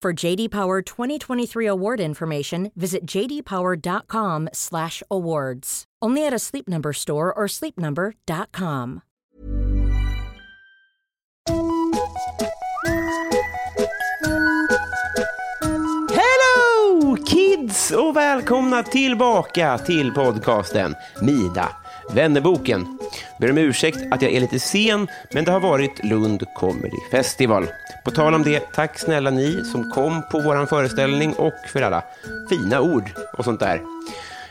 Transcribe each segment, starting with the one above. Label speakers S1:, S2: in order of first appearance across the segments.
S1: For JD Power 2023 award information, visit jdpower.com/awards. Only at a Sleep Number store or sleepnumber.com.
S2: Hello kids och välkomna tillbaka till podcasten Mida, vännerboken. Ber om ursäkt att jag är lite sen, men det har varit Lund Comedy Festival. På tal om det, tack snälla ni som kom på vår föreställning och för alla fina ord och sånt där.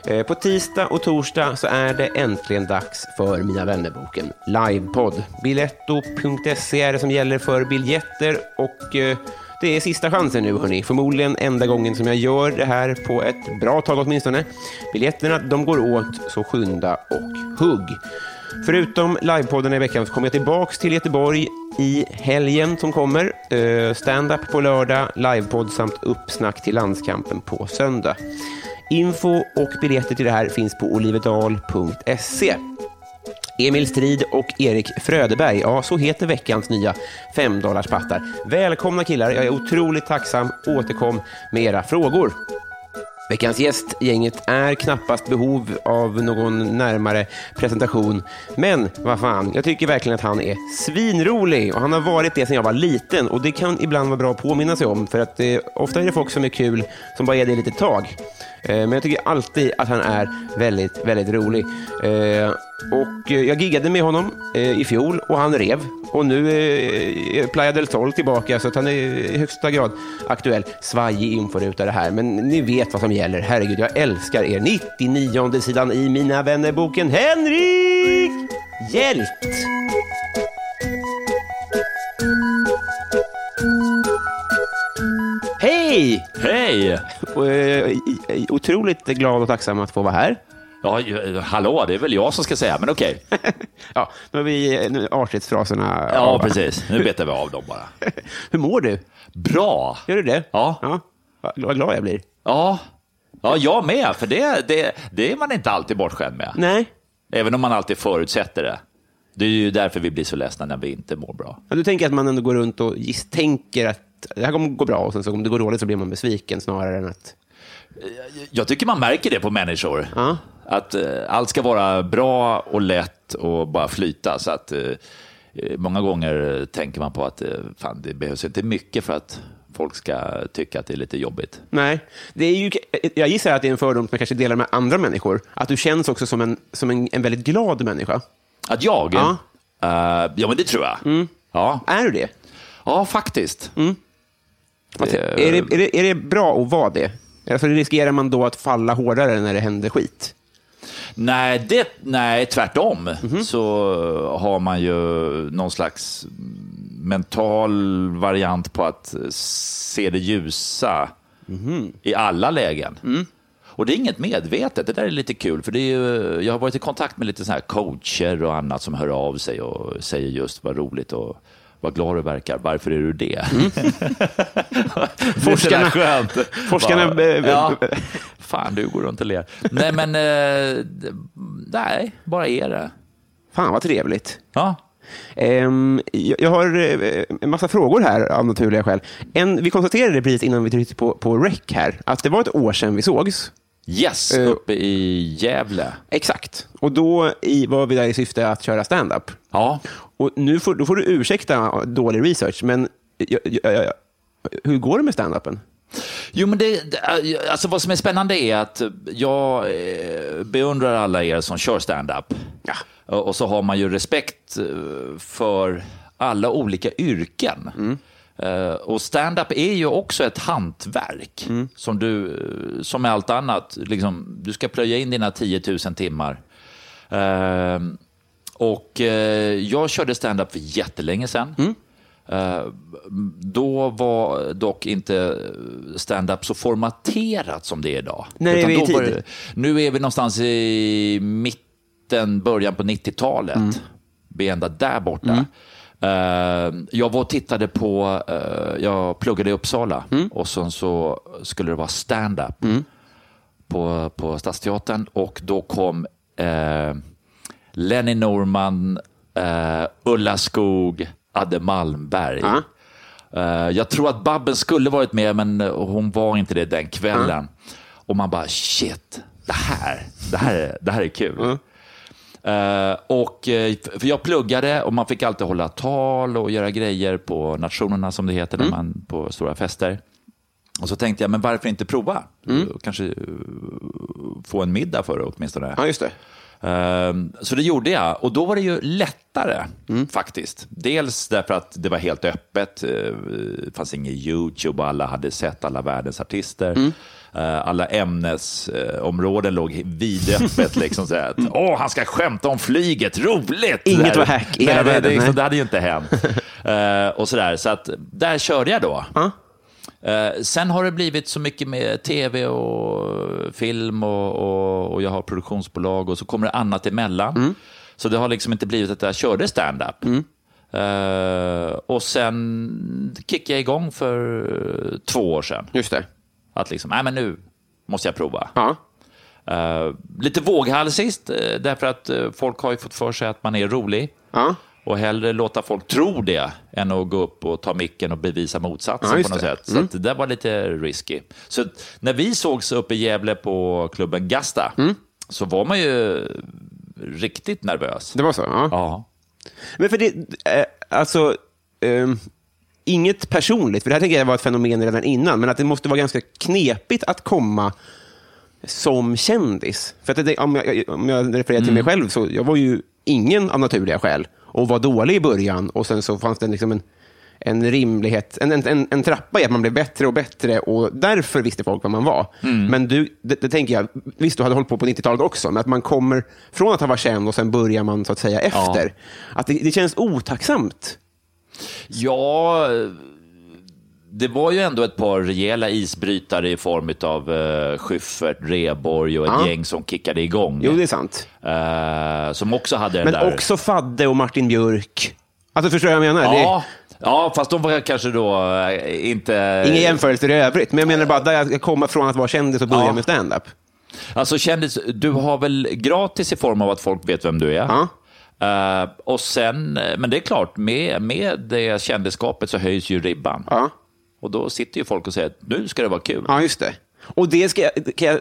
S2: Eh, På tisdag och torsdag så är det äntligen dags för Mina vännerboken livepodd. Biletto.se är det som gäller för biljetter och eh, det är sista chansen nu hörni. Förmodligen enda gången som jag gör det här på ett bra tag åtminstone. Biljetterna de går åt så skynda och hugg. Förutom livepodden i veckan så kommer jag tillbaka till Göteborg i helgen som kommer. Eh, Stand-up på lördag, livepodd samt uppsnack till landskampen på söndag. Info och biljetter till det här finns på olivedal.se. Emil Strid och Erik Fröderberg, ja så heter veckans nya femdollarspattar. Välkomna killar, jag är otroligt tacksam. Återkom med era frågor. Veckans gäst, gänget, är knappast behov av någon närmare presentation. Men vad fan, jag tycker verkligen att han är svinrolig och han har varit det sedan jag var liten och det kan ibland vara bra att påminna sig om för att eh, ofta är det folk som är kul som bara är det lite tag. Eh, men jag tycker alltid att han är väldigt, väldigt rolig. Eh, och eh, jag giggade med honom eh, i fjol och han rev. Och nu eh, är Playa del Sol tillbaka så att han är i högsta grad aktuell. Svajig inforutare här, men ni vet vad som gäller. Herregud, jag älskar er. 99 sidan i Mina vännerboken Henrik Hjält! Hej!
S3: Hej!
S2: Och, eh, i- i- Otroligt glad och tacksam att få vara här.
S3: Ja, ju- hallå, det är väl jag som ska säga, men okej.
S2: Ja, nu har vi eh, nu artighetsfraserna
S3: Ja,
S2: av.
S3: precis. Nu betar vi av dem bara.
S2: Hur mår du?
S3: Bra!
S2: Gör du det?
S3: Ja.
S2: ja. Vad- Vad glad jag blir.
S3: Ja, ja jag med, för det, det, det är man inte alltid bortskämd med.
S2: Nej.
S3: Även om man alltid förutsätter det. Det är ju därför vi blir så ledsna när vi inte mår bra.
S2: Ja, du tänker att man ändå går runt och giss- tänker att det här kommer gå bra och sen så om det går dåligt så blir man besviken snarare än att...
S3: Jag tycker man märker det på människor.
S2: Ja.
S3: Att eh, allt ska vara bra och lätt och bara flyta. Så att, eh, eh, många gånger eh, tänker man på att eh, fan, det behövs inte mycket för att folk ska tycka att det är lite jobbigt.
S2: Nej. Det är ju, jag gissar att det är en fördom som jag kanske delar med andra människor. Att du känns också som en, som en, en väldigt glad människa.
S3: Att jag?
S2: Ja.
S3: Eh, ja, men det tror jag. Ja.
S2: Är du det?
S3: ja, faktiskt.
S2: Att, är, det, är, det är det bra att vara det? Alltså, riskerar man då att falla hårdare när det händer skit?
S3: Nej, det, nej, tvärtom så eh, har man ju någon slags mental variant på att eh, se det ljusa i alla lägen. Och det är inget medvetet, det där är lite kul. För det är ju, jag har varit i kontakt med lite så här coacher och annat som hör av sig och säger just vad roligt och vad glad du verkar, varför är du det?
S2: Forskarna-
S3: Det är så där skönt.
S2: forskarna-
S3: Bara,
S2: eh,
S3: ja. Fan, du går runt och ler. Nej, men eh, d- nej, bara är det.
S2: Fan, vad trevligt.
S3: Ja.
S2: Ehm, jag, jag har eh, en massa frågor här av naturliga skäl. En, vi konstaterade precis innan vi tryckte på, på rec här, att det var ett år sedan vi sågs.
S3: Yes,
S2: Eh.
S3: uppe i Gävle.
S2: Exakt. Och då i, var vi där i syfte att köra stand-up.
S3: Ja.
S2: Och nu får, då får du ursäkta dålig research, men jag, jag, jag, hur går det med stand-upen?
S3: Jo, men det, det- alltså vad som är spännande är att jag eh, beundrar alla er som kör stand-up.
S2: Ja.
S3: Och och så har man ju respekt eh, för alla olika yrken. Eh, Och stand-up är ju också ett hantverk som du, eh, som med allt annat, liksom, du ska plöja in dina 10 000 timmar. Eh, Och eh, jag körde stand-up för jättelänge sedan.
S2: Mm.
S3: Eh, Då var dock inte stand-up så formaterat som det är idag.
S2: När är
S3: Utan
S2: vi i
S3: då
S2: tid?
S3: var det- Nu är vi någonstans i mitten, början på 90-talet.
S2: Mm.
S3: Vi är ända där borta. Eh, jag var och tittade på, eh, jag pluggade i Uppsala
S2: Mm.
S3: och sen så skulle det vara stand-up på, på Stadsteatern och då kom eh, Lenny Norman, eh, Ulla Skog, Adde Malmberg. Eh, jag tror att Babben skulle varit med, men eh, hon var inte det den kvällen. Och man bara, shit, det här, det här, är- det här är kul. Eh, och, eh, för jag pluggade och man fick alltid hålla tal och göra grejer på nationerna som det heter, när man, på stora fester. Och så tänkte jag, men varför inte prova? Kanske eh, få en middag för det åtminstone.
S2: Ja, just det.
S3: Ehm, Så det gjorde jag och då var det ju lättare faktiskt. Dels därför att det var helt öppet, eh, det fanns ingen YouTube och alla hade sett alla världens artister.
S2: Mm.
S3: Eh, Alla ämnesområden låg vidöppet. liksom, så här, att, Åh, han ska skämta om flyget, roligt!
S2: Inget
S3: Det här-
S2: var hack i
S3: Nej,
S2: hela
S3: det-
S2: världen,
S3: Det, liksom,
S2: nej.
S3: det hade ju inte hänt. Eh, och sådär, så att där körde jag då. Eh, sen har det blivit så mycket med tv och film och, och, och jag har produktionsbolag och så kommer det annat emellan. Så det har liksom inte blivit att jag körde stand-up. Eh, och sen kickade jag igång för eh, två år sedan.
S2: Just det.
S3: Att liksom, nej men nu måste jag prova.
S2: Ja.
S3: Eh, lite våghalsigt, eh, därför att eh, folk har ju fått för sig att man är rolig.
S2: Ja.
S3: Och hellre låta folk tro det än att gå upp och ta micken och bevisa motsatsen
S2: Ja, just
S3: på något
S2: det. Mm.
S3: sätt. Så att det där var lite risky. Så att när vi sågs uppe i Gävle på klubben Gasta
S2: Mm.
S3: så var man ju riktigt nervös.
S2: Det var så? Ja.
S3: Ja.
S2: Men för det, eh, alltså, ehm, inget personligt, för det här tänker jag var ett fenomen redan innan, men att det måste vara ganska knepigt att komma som kändis. För att det, om, jag, om jag refererar till mig
S3: Mm.
S2: själv, så jag var ju ingen av naturliga skäl och var dålig i början och sen så fanns det liksom en, en rimlighet, en, en- en, en trappa i att man blev bättre och bättre och därför visste folk vad man var.
S3: Mm.
S2: Men du, det, det tänker jag, visst du hade hållit på på 90-talet också, men att man kommer från att ha varit känd och sen börjar man så att säga efter. Att det, det känns otacksamt.
S3: Ja, det var ju ändå ett par rejäla isbrytare i form av uh, Schyffert, Rheborg och ett
S2: Ja.
S3: gäng som kickade igång.
S2: Jo, det är sant.
S3: Eh, som också hade den
S2: Men
S3: där...
S2: också Fadde och Martin Björk. Alltså förstår jag vad jag menar? Det-
S3: Ja, ja, fast de var kanske då eh, inte...
S2: Inga jämförelser i övrigt, men jag menar bara där jag kommer från att vara kändis och börja med stand-up.
S3: Alltså kändis, du har väl gratis i form av att folk vet vem du är?
S2: Ja.
S3: Eh, och sen, eh, men det är klart, med, med det kändisskapet så höjs ju ribban.
S2: Ja.
S3: Och då sitter ju folk och säger att nu ska det vara kul.
S2: ja, just det. Och det ska jag, kan jag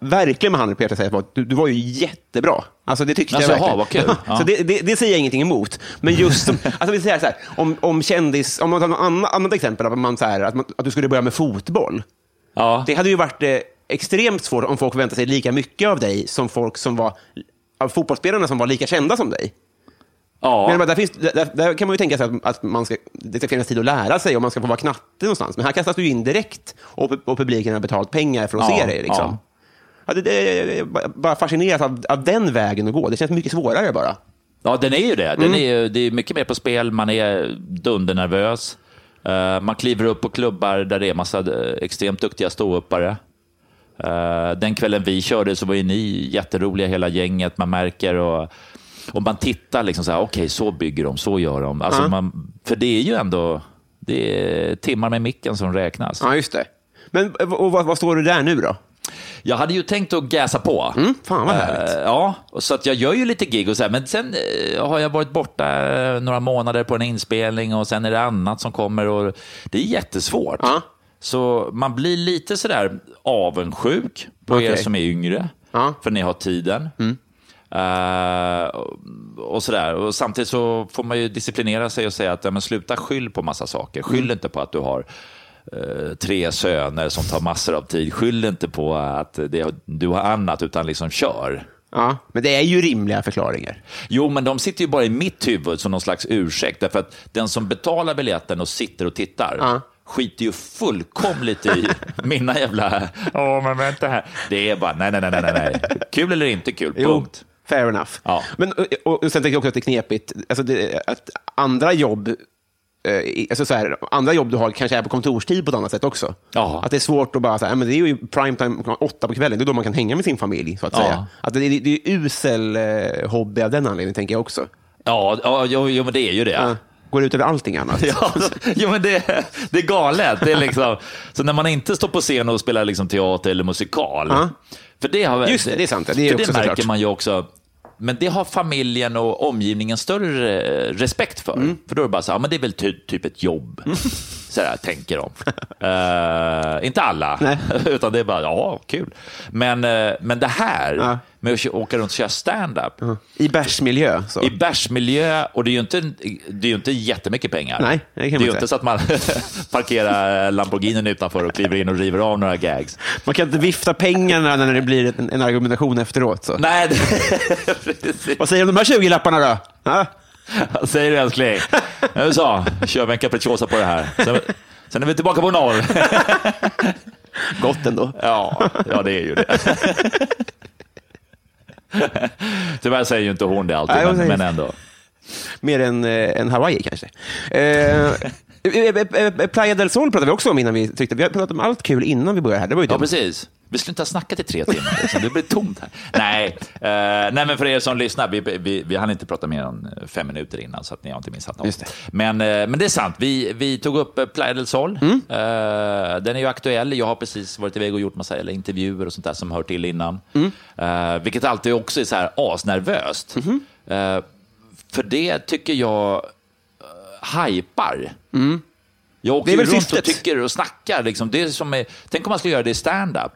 S2: verkligen med handen på hjärtat säga, att du, du var ju jättebra. Alltså det tyckte
S3: Alltså,
S2: jag
S3: jaha,
S2: verkligen.
S3: vad kul. Ja.
S2: Så det, det, det säger jag ingenting emot. Men just som, alltså vi säger så här, om, om kändis, om man tar något annat, annat exempel, att, man, så här, att, man, att du skulle börja med fotboll.
S3: Ja.
S2: Det hade ju varit eh, extremt svårt om folk väntade sig lika mycket av dig som folk som var, av fotbollsspelarna som var lika kända som dig.
S3: ja.
S2: Men bara, där, finns, där, där kan man ju tänka sig att, att man ska, det ska finnas tid att lära sig och man ska få vara knatte någonstans. Men här kastas du in direkt och, pu- och publiken har betalt pengar för att
S3: Ja,
S2: se dig. Liksom.
S3: ja.
S2: Ja, det, det, jag är ba- bara fascineras av, av den vägen att gå. Det känns mycket svårare bara.
S3: Ja, den är ju det. Den är ju, det är mycket mer på spel, man är dundernervös. Eh, man kliver upp på klubbar där det är massa eh, extremt duktiga ståuppare. Eh, den kvällen vi körde så var ju ni jätteroliga, hela gänget. Man märker och, och man tittar liksom så här, okej, så bygger de, så gör de. Alltså man, för det är ju ändå det är timmar med micken som räknas.
S2: Ja, just det. Men eh, och vad, vad står du där nu då?
S3: Jag hade ju tänkt att gasa på.
S2: Mm, Fan vad härligt.
S3: Eh, Ja, och så att jag gör ju lite gig och så här, men sen eh, har jag varit borta eh, några månader på en inspelning och sen är det annat som kommer och det är jättesvårt.
S2: Ja.
S3: Så man blir lite sådär avundsjuk på er
S2: Okej.
S3: som är yngre,
S2: Ja. Mm.
S3: för ni har tiden. Eh, och- och sådär. Och samtidigt
S2: Mm.
S3: så får man ju disciplinera sig och säga att ja, men sluta skyll på massa saker. Skyll inte på att du har eh, tre söner som tar massor av tid. Skyll inte på att det, du har annat, utan liksom kör.
S2: Ja, men det är ju rimliga förklaringar.
S3: Jo, men de sitter ju bara i mitt huvud som någon slags ursäkt. Därför att den som betalar biljetten och sitter och tittar
S2: Ja.
S3: skiter ju fullkomligt i mina jävla... Åh, men vänta här. Det är bara nej, nej, nej, nej, nej. Kul eller inte kul, punkt.
S2: Fair enough.
S3: Ja.
S2: Men, och, och sen tänker jag också att det är knepigt alltså det, att andra jobb eh, i- Alltså så här, andra jobb du har kanske är på kontorstid på ett annat sätt också.
S3: Ja.
S2: Att det är svårt att bara, så här, men det är ju prime time klockan åtta på kvällen, det är då man kan hänga med sin familj. Så att
S3: Ja.
S2: säga. Att det, är- det är usel eh, hobby av den anledningen, tänker jag också.
S3: Ja, ja jo, jo, men det är ju det.
S2: Ja. Går ut över allting annat.
S3: Ja, jo, men det, det är galet. Det är liksom, så när man inte står på scen och spelar liksom teater eller musikal.
S2: Ja.
S3: För det har,
S2: Just det, det är sant. Det är
S3: för
S2: också
S3: det märker
S2: såklart.
S3: man ju också. Men det har familjen och omgivningen större eh, respekt för.
S2: Mm.
S3: För då är det bara så här, ja, men det är väl ty, typ ett jobb. Så här, tänker de. Eh, inte alla,
S2: Nej.
S3: utan det är bara, ja, kul. Men, eh, men det här
S2: Ja.
S3: med att kö- åka runt och köra stand-up,
S2: I bärsmiljö. Så.
S3: i bärsmiljö och det är ju inte, det är ju inte jättemycket pengar.
S2: Nej, det kan man
S3: är ju
S2: säga.
S3: inte så att man parkerar Lamborghinin utanför och kliver in och river av några gags.
S2: Man kan inte vifta pengarna när det blir en, en argumentation efteråt. Så.
S3: Nej, det- precis.
S2: Vad säger du om de här 20 lapparna då? Ja.
S3: Vad säger du älskling? Nu så, kör vi en capricciosa på det här. Sen, sen är vi tillbaka på noll.
S2: Gott ändå.
S3: Ja, ja det är ju det. Tyvärr säger ju inte hon det alltid,
S2: Nej, hon
S3: men,
S2: säger-
S3: men ändå.
S2: Mer än, eh, än Hawaii kanske. Eh, eh, eh, eh, Playa del Sol pratade vi också om innan vi tyckte. Vi har pratat om allt kul innan vi började här. Det var ju typ
S3: Ja,
S2: dumt.
S3: precis. Vi skulle inte ha snackat i tre timmar. Liksom. Det blir tomt här. Nej. eh, nej, men för er som lyssnar, vi, vi, vi hann inte prata mer än eh, fem minuter innan, så att ni har inte missat något.
S2: Just det.
S3: Men, eh, men det är sant. Vi, vi tog upp eh, Playa del Sol.
S2: Mm.
S3: Eh, den är ju aktuell. Jag har precis varit iväg och gjort massa eller intervjuer och sånt där som hör till innan.
S2: Mm.
S3: Eh, vilket alltid också är så här asnervöst.
S2: Mhm.
S3: Eh, för det tycker jag uh, hypar. Jag åker
S2: Mm. Det är
S3: ju
S2: väl
S3: runt
S2: syftet.
S3: och tycker och snackar. Liksom. Det är som är, tänk om man skulle göra det i stand-up.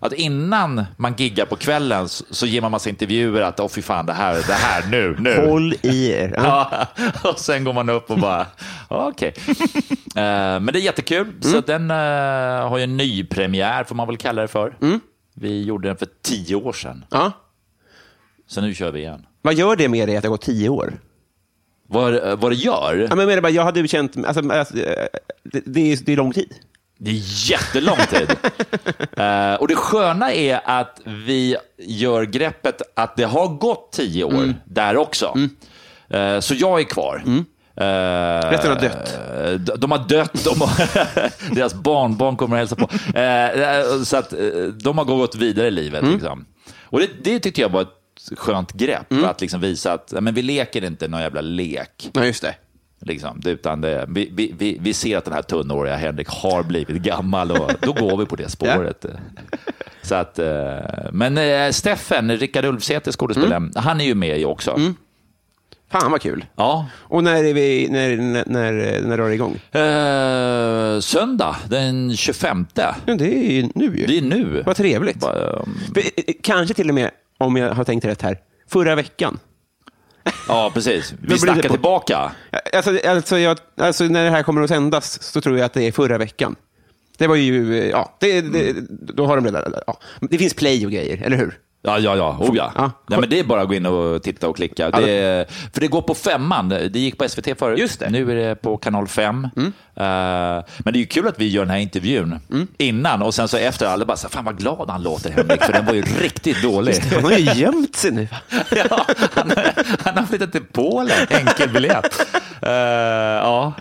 S3: Att innan man giggar på kvällen så, så ger man massa intervjuer att åh fy fan, det här, det här, nu, nu.
S2: Håll i er. Ja.
S3: Ja, och sen går man upp och bara, ja, okej. Eh, men det är jättekul, så den eh, har ju en ny premiär får man väl kalla det för. Vi gjorde den för tio år sedan,
S2: Ja.
S3: så nu kör vi igen.
S2: Vad gör det med dig att det har gått tio år?
S3: Vad, eh, vad det gör?
S2: Ja, men jag, menar bara, jag hade ju känt... Alltså, alltså, eh, det, det, är, det är lång tid.
S3: Det är jättelång tid. Eh, och det sköna är att vi gör greppet att det har gått tio år
S2: Mm.
S3: där också. Eh, så jag är kvar. Eh,
S2: Resten Mm. har dött.
S3: eh, d- De har dött. De har deras barnbarn kommer att hälsa på. Eh, Så att eh, de har gått vidare i livet.
S2: Mm.
S3: Liksom. Och det, det tyckte jag var ett skönt grepp.
S2: Mm.
S3: Att liksom visa att ja, men vi leker inte någon jävla lek.
S2: Ja, just det.
S3: Liksom, Det- utan det, vi, vi- vi, vi ser att den här tunnåriga Henrik har blivit gammal och då går vi på det spåret. Så att, eh, men eh, Steffen, Rickard Ulfsäter, skådespelaren,
S2: Mm.
S3: han är ju med ju också.
S2: Fan vad kul.
S3: Ja.
S2: Och när, är vi, när, när, när, när drar det igång?
S3: Eh, söndag den 25.
S2: Ja, det är ju nu ju.
S3: Det är nu.
S2: Vad trevligt.
S3: Bara, um,
S2: För, eh, eh, Kanske till och med, om jag har tänkt rätt här, förra veckan.
S3: Ja, precis.
S2: blir
S3: Vi
S2: det
S3: snackar
S2: på-
S3: tillbaka.
S2: Alltså, alltså, jag, alltså när det här kommer att sändas så tror jag att det är förra veckan. Det var ju, eh, ja, det, det, då har de redan, ja. Det finns play och grejer, eller hur?
S3: Ja, ja, ja. Oh, ja.
S2: Ja.
S3: Nej, men det är bara att gå in och titta och klicka. Det är, för det går på femman. Det gick på SVT förut.
S2: Just det. Mm.
S3: Nu är det på kanal 5. men det är ju kul att vi gör den här intervjun innan och sen så efter. Alla bara, så här, fan vad glad han låter Henrik, för den var ju riktigt dålig.
S2: Han har ju gömt sig nu.
S3: ja, han, han har flyttat till Polen, enkelbiljett. Eh, ja.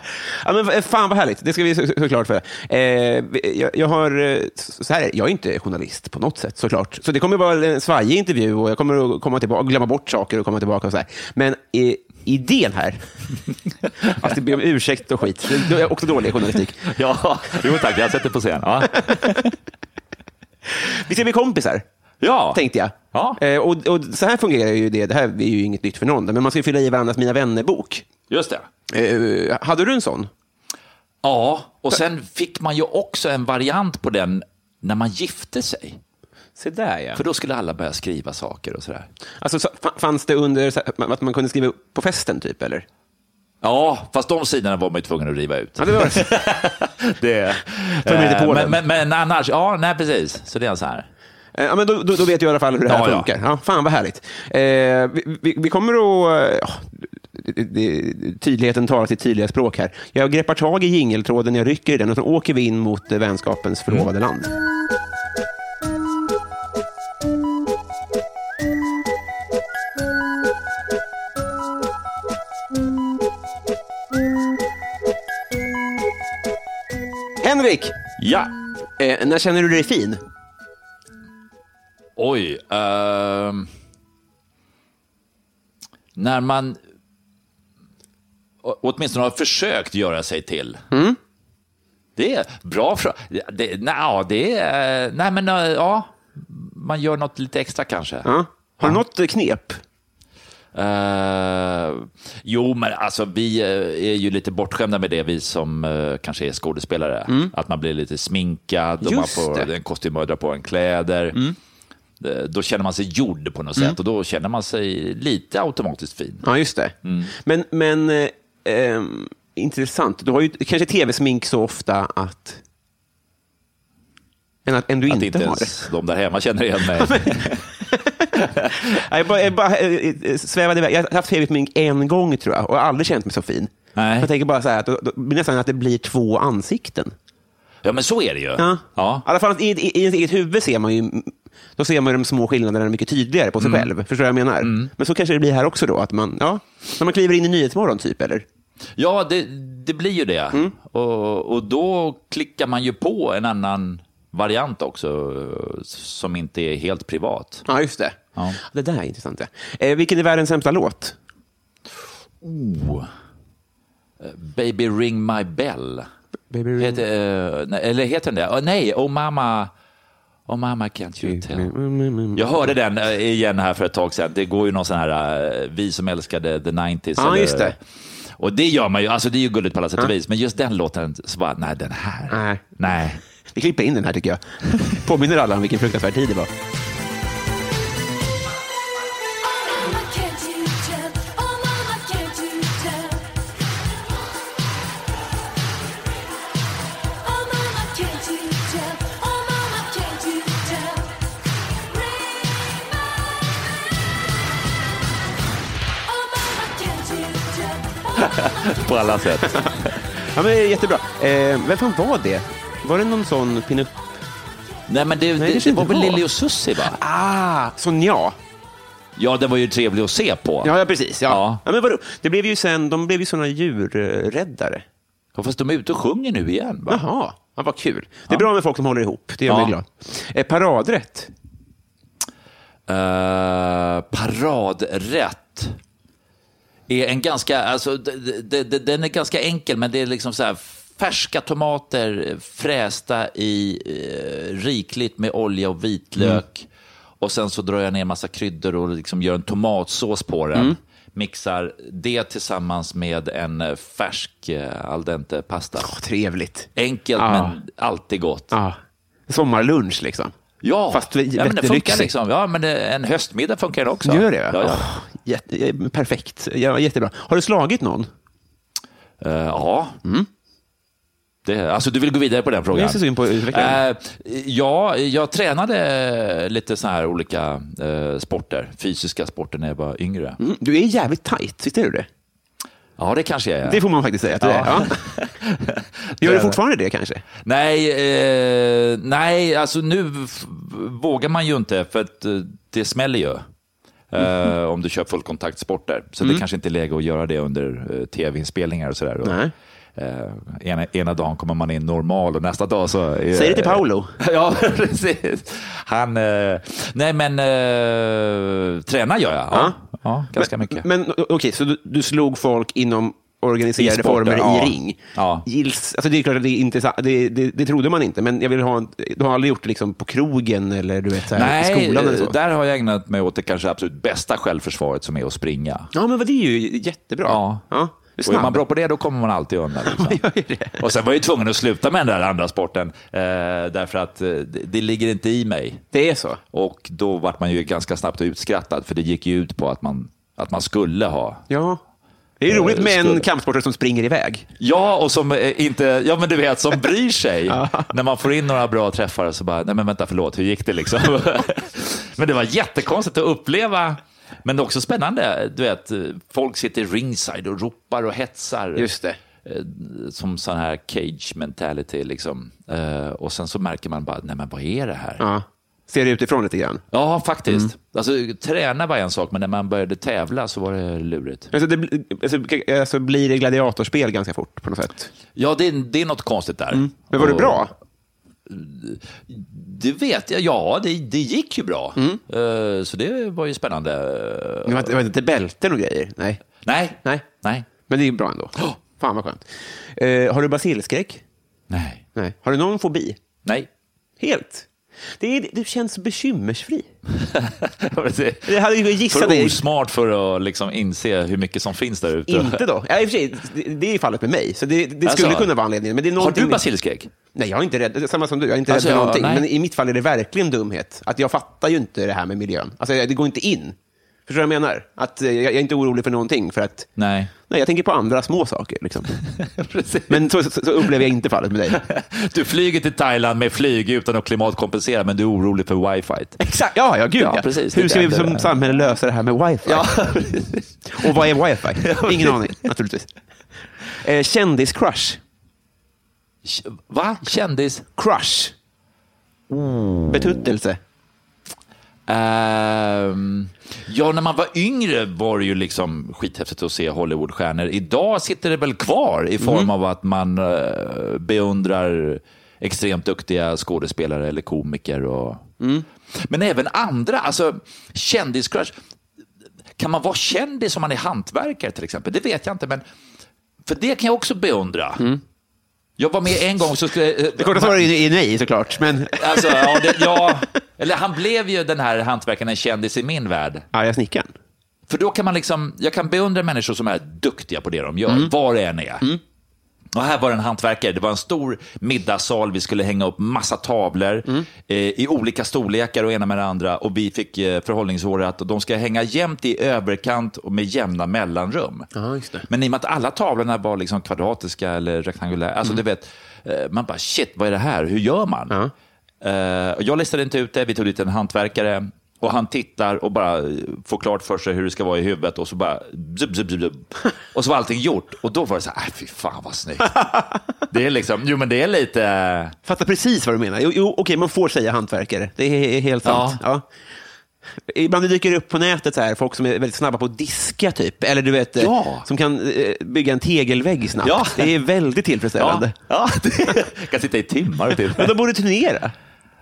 S2: Ja, men eh, fan vad härligt, det ska vi så- så- såklart för. Eh, jag, jag, har, eh, s- så här, är det. jag är inte journalist på något sätt såklart. Så det kommer vara en svajig intervju och jag kommer att komma tillbaka, glömma bort saker och komma tillbaka och så här. Men eh, idén här, att det ber om ursäkt och skit, det är också dålig journalistik.
S3: ja, jo tack, jag har sett det på scen. Ja.
S2: Vi ska bli kompisar.
S3: Ja.
S2: tänkte jag.
S3: Ja.
S2: Eh, och, och så här fungerar ju det. Det här är ju inget nytt för någon, men man ska ju fylla i varandras Mina vänner-bok.
S3: Just det.
S2: Eh, hade du en sån?
S3: Ja, och sen fick man ju också en variant på den när man gifte sig.
S2: Se där, ja.
S3: För då skulle alla börja skriva saker och sådär.
S2: Alltså, så, fa- fanns det under så här, att man kunde skriva upp på festen, typ? Eller?
S3: Ja, fast de sidorna var man ju tvungen att riva ut.
S2: Ja, det var det.
S3: Det,
S2: mig till
S3: eh,
S2: Polen.
S3: men, men, men annars, ja, nej precis. Så det är så här.
S2: Eh, Ja, men då, då, då vet jag i alla fall hur det här
S3: Ja, ja.
S2: funkar. Ja, fan vad härligt. Eh, vi, vi, vi kommer att... eh, Ja, det- det- tydligheten talar sitt tydliga språk här. Jag greppar tag i jingeltråden, jag rycker i den och så åker vi in mot eh, vänskapens förlovade
S3: Mm.
S2: land. Henrik!
S3: Ja.
S2: Eh, när känner du dig fin?
S3: Oj. ehm, när man å- åtminstone har försökt göra sig till.
S2: Mm.
S3: Det är bra fråga. Det, nej, ja, det är... Nej, men eh, ja. Man gör något lite extra kanske.
S2: Ja. Har du något knep?
S3: Eh, jo, men alltså vi eh, är ju lite bortskämda med det, vi som eh, kanske är skådespelare. Att man blir lite sminkad och man
S2: Mm. Just
S3: får
S2: det. Mm.
S3: en kostym och drar på en kläder. Eh, Då känner man sig gjord på något sätt och då känner man sig lite automatiskt fin.
S2: Ja, just det.
S3: Mm.
S2: Men, men eh, ehm, intressant. Du har ju kanske tv-smink så ofta att... Än, att, än du
S3: Att
S2: inte
S3: inte
S2: har.
S3: ens de där hemma känner igen mig.
S2: Nej, Jag bara, jag bara eh, eh, svävade iväg. Jag har haft tv-smink en gång, tror jag, och jag har aldrig känt mig så fin.
S3: Nej.
S2: Jag tänker bara så här, att då, då, blir det nästan att det blir två ansikten.
S3: Ja, men så är det ju.
S2: Ja.
S3: Ja.
S2: I alla fall i, i, i ens eget huvud ser man ju då ser man ju de små skillnaderna mycket tydligare på sig
S3: Mm.
S2: själv. Förstår du vad jag menar? Men så kanske det blir här också då, att man, ja, när man kliver in i Nyhetsmorgon typ, eller?
S3: Ja, det, det blir ju det.
S2: Mm.
S3: Och, och då klickar man ju på en annan variant också, eh, som inte är helt privat.
S2: Ja, just det.
S3: Ja.
S2: Det där är intressant. ja. Eh, vilken är världens sämsta låt?
S3: Baby ring my bell.
S2: Baby ring-
S3: heter, eh, nej, eller heter den det? Oh, nej, Oh mama, oh mama can't you tell.
S2: mm,
S3: Jag hörde den eh, igen här för ett tag sedan. Det går ju någon sån här, eh, vi som älskade the 90s.
S2: Ja, just det.
S3: Och det gör man ju, alltså det är ju gulligt på alla sätt och vis. Men just den låten, så bara, nej den här.
S2: Nej.
S3: nej.
S2: Vi klipper in den här tycker jag. Påminner alla om vilken fruktansvärd tid det var.
S4: Mama, can't you tell? Oh, Mama, can't you tell? Oh, Mama, can't you tell? Oh, Mama, can't you tell? Ring my bell. Oh, Mama, can't you tell? Oh, Mama, can't
S3: På alla sätt.
S2: Ja, men, jättebra. Eh, vem fan var det? Var det någon sån pinup...
S3: nej men det,
S2: det
S3: det, det
S2: kanske
S3: var
S2: inte
S3: väl
S2: var.
S3: Lili och Susie va?
S2: Ah, Sonja.
S3: Ja, den var ju trevlig att se på.
S2: Ja, ja precis. Ja. Ja.
S3: Ja.
S2: men vadå? Det blev ju sen, de blev ju såna djurräddare.
S3: Ja, Fast de är ute och sjunger nu igen va?
S2: Jaha, ja, vad kul. Det är bra med folk som håller ihop. Det gör
S3: Ja.
S2: mig glad. Eh, paradrätt.
S3: Eh, paradrätt är en ganska, alltså, d- d- d- d- den är ganska enkel, men det är liksom så här färska tomater frästa i eh, rikligt med olja och vitlök.
S2: Mm.
S3: Och sen så drar jag ner massa kryddor och liksom gör en tomatsås på
S2: Mm.
S3: den. Mixar det tillsammans med en eh, färsk eh, al dente pasta.
S2: Åh, trevligt.
S3: Enkelt
S2: Ja.
S3: men alltid gott.
S2: Ah. Ja. Sommarlunch liksom.
S3: Ja,
S2: Fast vi-
S3: ja men det funkar
S2: jättelyxigt.
S3: liksom. Ja, men eh, en höstmiddag funkar den också.
S2: Gör det? Ah. va?
S3: Ja, ja.
S2: Åh, jätte, eh, perfekt. Ja, jättebra. Har du slagit någon?
S3: Eh, ja. Det, alltså du vill gå vidare på den frågan?
S2: Jag är så sugen på att utveckla den.
S3: Eh, ja, jag tränade lite så här olika eh, sporter, fysiska sporter när jag var yngre.
S2: Mm, du är jävligt tajt, visst är du det?
S3: Ja, det kanske jag är.
S2: Det får man faktiskt säga att du är. Ja. Gör du fortfarande det kanske?
S3: Nej, eh, nej, alltså nu f- vågar man ju inte för att eh, det smäller ju. Eh,
S2: Mm.
S3: om du kör fullkontaktsporter. Så det kanske inte är läge att göra det under eh, tv-inspelningar och sådär. Och,
S2: Nej.
S3: eh, ena, ena dagen kommer man in normal och nästa dag så... är-
S2: Säg det till Paolo.
S3: ja, precis. Han... Eh, nej, men eh, tränar gör jag. Ja, ja. ganska mycket.
S2: Men okej, så du, du slog folk inom organiserade
S3: I sporten,
S2: former
S3: ja.
S2: i ring?
S3: Ja.
S2: Gills, alltså det är klart att det är intressant. Det, det, det trodde man inte, men jag vill ha en, du har aldrig gjort det liksom på krogen eller du vet, så här, i
S3: Nej,
S2: skolan eller så?
S3: där har jag ägnat mig åt det kanske absolut bästa självförsvaret som är att springa.
S2: Ja, men vad- det är ju jättebra.
S3: Ja.
S2: Ja. Du är
S3: Och är
S2: snabb.
S3: man bra på det, då kommer man alltid undan. Liksom. och sen var jag ju tvungen att sluta med den där andra sporten, eh, därför att eh, det, det ligger inte i mig.
S2: Det är så?
S3: Och då vart man ju ganska snabbt utskrattad, för det gick ju ut på att man, att man skulle ha
S2: Ja. Det är roligt med en
S3: skulle-
S2: kampsportare som springer iväg.
S3: Ja, och som eh, inte, ja men du vet, som bryr sig. När man får in några bra träffar så bara, nej men vänta, förlåt, hur gick det liksom? men det var jättekonstigt att uppleva. Men det är också spännande, du vet, eh, folk sitter ringside och ropar och hetsar.
S2: Just det.
S3: Eh, Som sån här cage mentality liksom. Eh, Och sen så märker man bara, nej men vad är det här?
S2: Ja. Mm. Ser det utifrån lite grann.
S3: Ja, faktiskt. Alltså, träna var en sak, men när man började tävla så var det lurigt.
S2: Alltså, det, bl- alltså, k- alltså blir det gladiatorspel ganska fort på något sätt.
S3: Ja, det är, det är något konstigt där.
S2: Mm. Men var det
S3: Och-
S2: bra?
S3: Det vet jag. Ja, det, det gick ju bra.
S2: Mm.
S3: Eh, Så det var ju spännande.
S2: Det var, det var inte bälten och grejer? Nej.
S3: Nej.
S2: Nej.
S3: Nej.
S2: Men det är bra ändå.
S3: Ja.
S2: Fan vad skönt. Eh, har du basilskräck?
S3: Nej.
S2: Nej. Har du någon fobi?
S3: Nej.
S2: Helt. Det är, du känns bekymmersfri.
S3: det
S2: Det hade ju gissat
S3: för
S2: dig.
S3: osmart för att liksom inse hur mycket som finns där ute.
S2: Inte då. Ja, i och för sig, det- det är fallet med mig, så det, det skulle
S3: Alltså.
S2: kunna vara anledningen. Men det är
S3: Har
S2: någonting-
S3: du basilskräck?
S2: Nej, jag är inte rädd. Det är Samma som du, jag är inte
S3: Alltså,
S2: rädd för
S3: ja,
S2: någonting.
S3: nej.
S2: Men i mitt fall är det verkligen dumhet. Att jag fattar ju inte det här med miljön. Alltså, det går inte in. Förstår du vad jag menar? Att eh, jag, jag är inte orolig för någonting, för att
S3: Nej.
S2: nej, jag tänker på andra små saker. Liksom. men så, så, så upplever jag inte fallet med dig.
S3: Du flyger till Thailand med flyg utan att klimatkompensera, men du är orolig för wifi.
S2: Exakt, ja, ja, gud ja.
S3: Ja, precis.
S2: Hur
S3: Det
S2: ska vi
S3: där-
S2: som
S3: det där.
S2: samhälle lösa det här med wifi? Och vad är wifi? Ingen aning, naturligtvis. Eh, Kändis-crush.
S3: Va? Kändis?
S2: Crush. Betuttelse.
S3: Ehm, ja, när man var yngre var det ju liksom skithäftigt att se Hollywoodstjärnor. Idag sitter det väl kvar i
S2: Mm.
S3: form av att man eh, beundrar extremt duktiga skådespelare eller komiker. Och...
S2: Mm.
S3: Men även andra, alltså kändiscrush. Kan man vara kändis om man är hantverkare till exempel? Det vet jag inte, men för det kan jag också beundra. Jag var med en gång så skulle...
S2: Mm. Det korta svaret är är nej, såklart. Men
S3: Alltså, ja, det, ja. Eller han blev ju den här hantverkaren en kändis i min värld.
S2: arga snickaren.
S3: För då kan man liksom, jag kan beundra människor som är duktiga på det de gör,
S2: Mm.
S3: var det än är. Och här var det en hantverkare, det var en stor middagssal, vi skulle hänga upp massa tavlor
S2: Mm.
S3: eh, i olika storlekar och ena med det andra. Och vi fick eh, förhållningsåret att de ska hänga jämnt i överkant och med jämna mellanrum.
S2: Ja, just det.
S3: Men i och med att alla tavlorna var liksom kvadratiska eller rektangulära, alltså
S2: Mm.
S3: du vet, eh, man bara shit, vad är det här, hur gör man? Eh, och Jag listade inte ut det, vi tog dit en hantverkare och han tittar och bara eh, får klart för sig hur det ska vara i huvudet och så bara zub, zub, zub, zub. Och så var allting gjort och då var det så här, "Äh, fy fan vad snyggt. Det är liksom, jo men det är lite,
S2: Fattar precis vad du menar. Jo, jo okej, man får säga hantverkare. Det är, är helt sant. Ja. Ibland det dyker upp på nätet så här, folk som är väldigt snabba på att diska, typ. Eller du vet, eh,
S3: Ja.
S2: som kan eh, bygga en tegelvägg snabbt.
S3: Ja.
S2: Det är väldigt
S3: ja,
S2: tillfredsställande.
S3: ja det, kan sitta i timmar och
S2: Men
S3: titta.
S2: de borde turnera.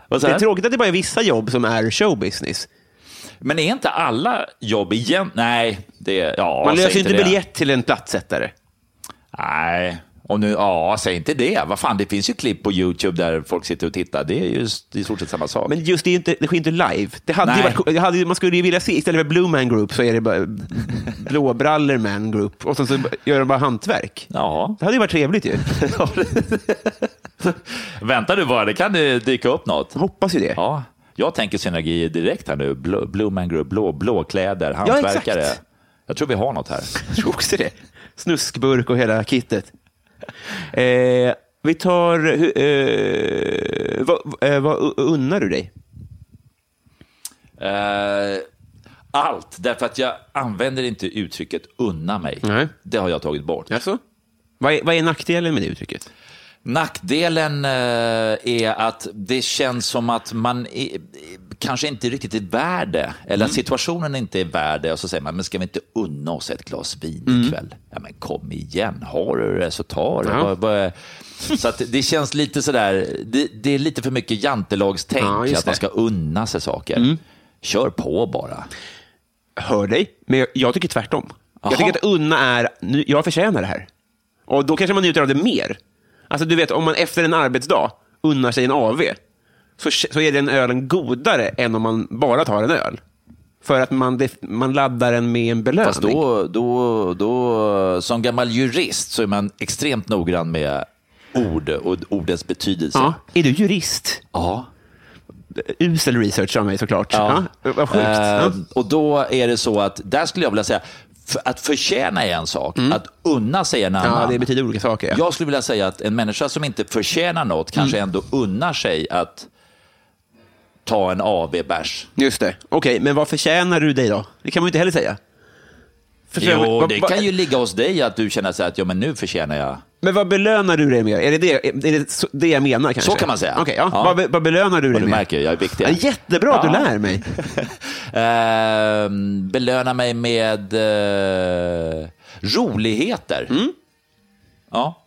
S3: Vad
S2: Det
S3: sa
S2: är
S3: du?
S2: tråkigt att det bara är vissa jobb som är showbusiness.
S3: Men är inte alla jobb igen? Nej, det, ja,
S2: Man
S3: säg
S2: löser inte
S3: det.
S2: biljett till en plattsättare.
S3: Nej, och nu, ja, säg inte det. Vad fan, det finns ju klipp på YouTube där folk sitter och tittar. Det är ju i stort sett samma sak.
S2: Men just det, är ju inte, det sker inte live. Det hade ju
S3: Nej.
S2: varit, coolt- det hade, ju- man skulle ju vilja se, istället för Blue Man Group så är det bara Blåbrallor Man Group och sen så gör de bara hantverk.
S3: Ja,
S2: Det hade ju varit trevligt ju.
S3: vänta du bara, det kan ju dyka upp något.
S2: Jag hoppas ju det.
S3: Ja, jag tänker synergi direkt här nu. Blå, Blue Man Group, blå, blå kläder,
S2: exakt.
S3: hantverkare. jag tror vi har något här.
S2: Jag tror också det. Snuskburk och hela kittet. Eh, vi tar... hu- Eh, vad, eh, vad unnar du dig?
S3: Eh, allt, därför att jag använder inte uttrycket unna mig.
S2: Nej.
S3: Det har jag tagit bort.
S2: Alltså? Vad är, vad är nackdelen med det uttrycket?
S3: Nackdelen eh, är att det känns som att man i- i- kanske inte riktigt är värd det, eller att
S2: Mm.
S3: situationen inte är värd det. Och så säger man, men ska vi inte unna oss ett glas vin
S2: Mm.
S3: ikväll? Ja, men kom igen, har du det så ta det.
S2: Ja.
S3: Vad- vad- Så att det känns lite sådär, det, det är lite för mycket jantelagstänk,
S2: Ja, just
S3: att man
S2: det. Mm.
S3: ska unna sig saker. Kör på bara.
S2: Hör dig, men jag, jag tycker tvärtom.
S3: Jaha.
S2: Jag tycker att unna är, nu, jag förtjänar det här. Och då kanske man njuter av det mer. Alltså du vet, om man efter en arbetsdag unnar sig en AV så, så är den ölen godare än om man bara tar en öl. För att man, def- man laddar den med en belöning.
S3: Fast då, då, då, som gammal jurist så är man extremt noggrann med ord och ordens betydelse.
S2: ja. Är du jurist?
S3: Ja.
S2: Usel research av mig såklart. Ja. Vad sjukt.
S3: Eh,
S2: Ja.
S3: Och då är det så att, där skulle jag vilja säga, För att förtjäna är en sak, att unna sig en annan.
S2: Mm. Ja, det Mm. betyder olika saker. Ja.
S3: Jag skulle vilja säga att en människa som inte förtjänar något kanske ändå unnar sig att ta en av bärs
S2: Just det. Okej, men vad förtjänar du dig då? Det kan man ju inte heller säga. Förtjänar-
S3: Jo,
S2: vad-
S3: det
S2: vad-
S3: kan ju ligga hos dig att du känner så här att ja, men nu förtjänar jag.
S2: Men vad belönar du dig med? Är det det, är det, så- det jag menar kanske?
S3: Så kan man säga.
S2: Okej, ja.
S3: Ja.
S2: Vad, be- vad belönar du dig
S3: Och du
S2: med?
S3: märker, jag är viktig.
S2: Ja, jättebra att du
S3: Ja.
S2: lär mig.
S3: Ehm, belöna mig med eh, roligheter.
S2: Mm.
S3: Ja.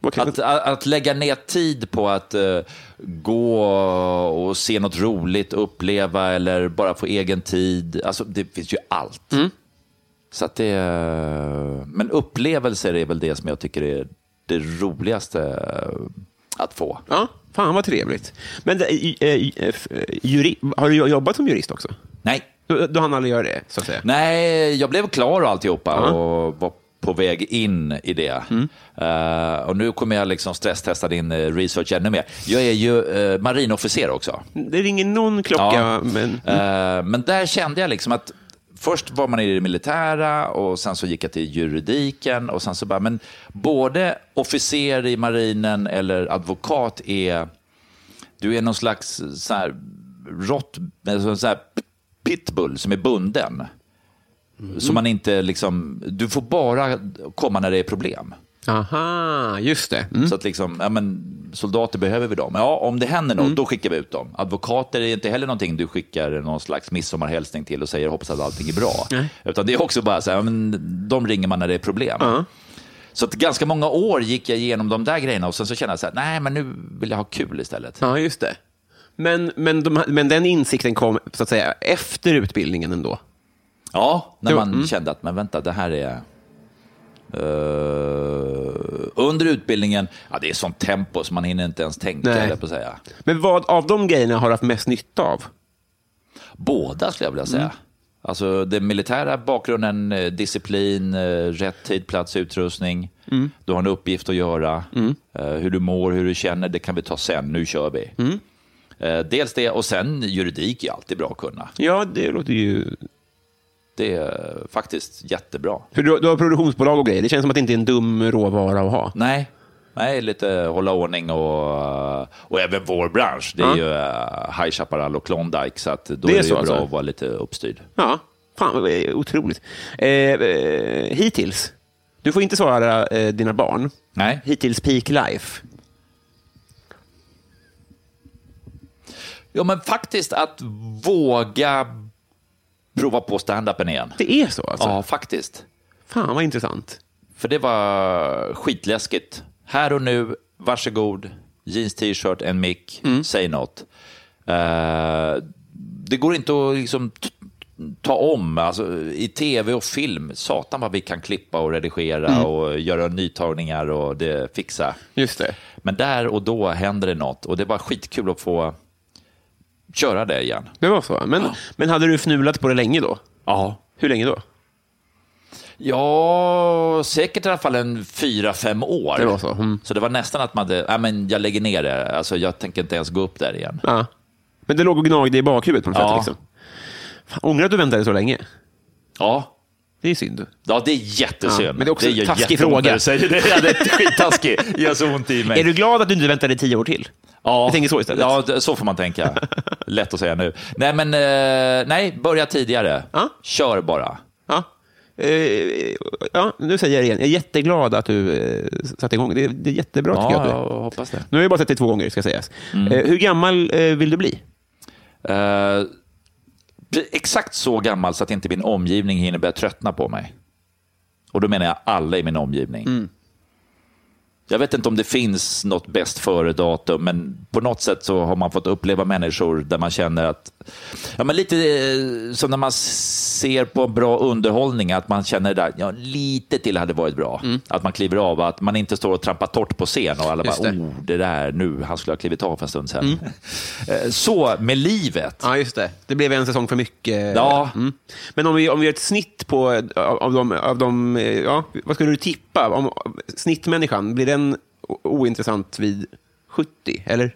S2: Okej,
S3: Att, att, att lägga ner tid på att eh, gå och se något roligt, uppleva eller bara få egen tid. Alltså, det finns ju allt. Så att det, eh, men upplevelser är väl det som jag tycker är det roligaste eh, att få.
S2: Ja, fan vad trevligt. Men det, eh, eh, f- eh, juri, har du jobbat som jurist också?
S3: Nej,
S2: Du, du hann aldrig göra det, så att säga?
S3: Nej, jag blev klar och alltihopa
S2: Ja.
S3: och var på väg in i det. Eh, och nu kommer jag liksom stresstesta din eh, research ännu mer. Jag är ju eh, marinofficer också.
S2: Det ringer någon klocka,
S3: Ja.
S2: men...
S3: Eh, men där kände jag liksom att först var man i det militära och sen så gick jag till juridiken och sen så bara, men både officer i marinen eller advokat är, du är någon slags så här rått, alltså så här pitbull som är bunden.
S2: Mm.
S3: Så man inte liksom, du får bara komma när det är problem.
S2: Aha, just det.
S3: Så att liksom, ja, men, soldater behöver vi dem. Ja, om det händer något,
S2: Mm.
S3: då skickar vi ut dem. Advokater är inte heller någonting du skickar någon slags midsommarhälsning till och säger hoppas att allting är bra. Utan det är också bara så här, ja, men, de ringer man när det är problem. Så att ganska många år gick jag igenom de där grejerna och sen så kände jag så här, nej men nu vill jag ha kul istället.
S2: Ja, just det. Men, men, de, men den insikten kom, så att säga, efter utbildningen ändå?
S3: Ja, när
S2: Jo, mm.
S3: man kände att, men vänta, det här är... Eh, under utbildningen, ja, det är sånt tempo så man hinner inte ens tänka,
S2: Nej.
S3: höll jag på att säga.
S2: Men vad av de grejerna har du haft mest nytta av?
S3: Båda skulle jag vilja säga.
S2: Mm.
S3: Alltså den militära bakgrunden, eh, disciplin, eh, rätt tid, plats, utrustning.
S2: Mm.
S3: Du har en uppgift att göra. Eh, Hur du mår, hur du känner, det kan vi ta sen. Nu kör vi.
S2: Mm.
S3: Eh, Dels det, och sen juridik är alltid bra att kunna.
S2: Ja, det låter ju...
S3: Det är eh, faktiskt jättebra.
S2: För du, du har produktionsbolag och grejer. Det känns som att det inte är en dum råvara att ha.
S3: Nej. Nej, lite hålla ordning och, eh, och även vår bransch. Det
S2: Ja.
S3: är ju eh, High Chaparral och Klondike, så att då
S2: Det
S3: det
S2: är
S3: är, det ju
S2: så
S3: bra
S2: alltså?
S3: att vara lite uppstyrd.
S2: Ja, fan vad eh, otroligt. Eh, eh, hittills. Du får inte svara eh, dina barn.
S3: Nej.
S2: Hittills peak life.
S3: Ja, men faktiskt att våga prova på standupen igen.
S2: Det är så alltså?
S3: Ja, faktiskt.
S2: Fan vad intressant.
S3: För det var skitläskigt. Här och nu, varsågod, jeans, t-shirt, en mick, säg något. Eh, det går inte att liksom t- ta om. Alltså, I tv och film, satan vad vi kan klippa och redigera och göra nytagningar och det, fixa.
S2: Just det.
S3: Men där och då händer det något och det var skitkul att få köra det igen.
S2: Det var så. Men, men hade du fnulat på det länge då?
S3: Ja.
S2: Hur länge då?
S3: Ja, säkert i alla fall en fyra, fem år.
S2: Det var så, mm.
S3: det var nästan att man hade, nej men jag lägger ner det, alltså jag tänker inte ens gå upp där igen.
S2: Ja. Men det låg och gnagde i bakhuvudet på något
S3: Ja.
S2: sätt. Liksom. Fan, ångrar att du väntade så länge?
S3: Ja,
S2: Det är synd.
S3: ja det är jättesynd.
S2: Ja, men det är också en
S3: gör
S2: taskig
S3: jätteont
S2: fråga.
S3: när du säger det. Ja, det är skittaskig, det gör så ont i mig.
S2: Är du glad att du inte väntade tio år till?
S3: ja.
S2: Jag tänker så istället.
S3: Ja, d- så får man tänka. Lätt att säga nu. Nej, men eh, nej, börja tidigare.
S2: Ja.
S3: Kör bara.
S2: Ja. Eh, ja, nu säger jag det igen. Jag är jätteglad att du eh, satte igång. Det är, det är jättebra tycker jag. Att du.
S3: jag hoppas det.
S2: Nu har jag bara sett dig två gånger, ska sägas.
S3: Mm.
S2: Eh, hur gammal eh, vill du bli?
S3: Eh, exakt så gammal så att inte min omgivning hinner börja tröttna på mig. Och då menar jag alla i min omgivning.
S2: Mm.
S3: Jag vet inte om det finns något bäst före-datum, men på något sätt så har man fått uppleva människor där man känner att... Ja, men lite eh, som när man ser på bra underhållning, att man känner där, ja, lite till hade varit bra.
S2: Mm.
S3: Att man kliver av, att man inte står och trampar torrt på scen och alla
S2: Just
S3: bara,
S2: det.
S3: oh, det där, nu, han skulle ha klivit av för en stund sedan. Eh, Så med livet.
S2: Mm. Ja, just det. Det blev en säsong för mycket.
S3: Ja.
S2: Mm. Men om vi, om vi gör ett snitt på, eh, av, av de... Av de eh, ja, vad skulle du tippa? Om, om- snittmänniskan, blir den o- ointressant vid 70? Eller?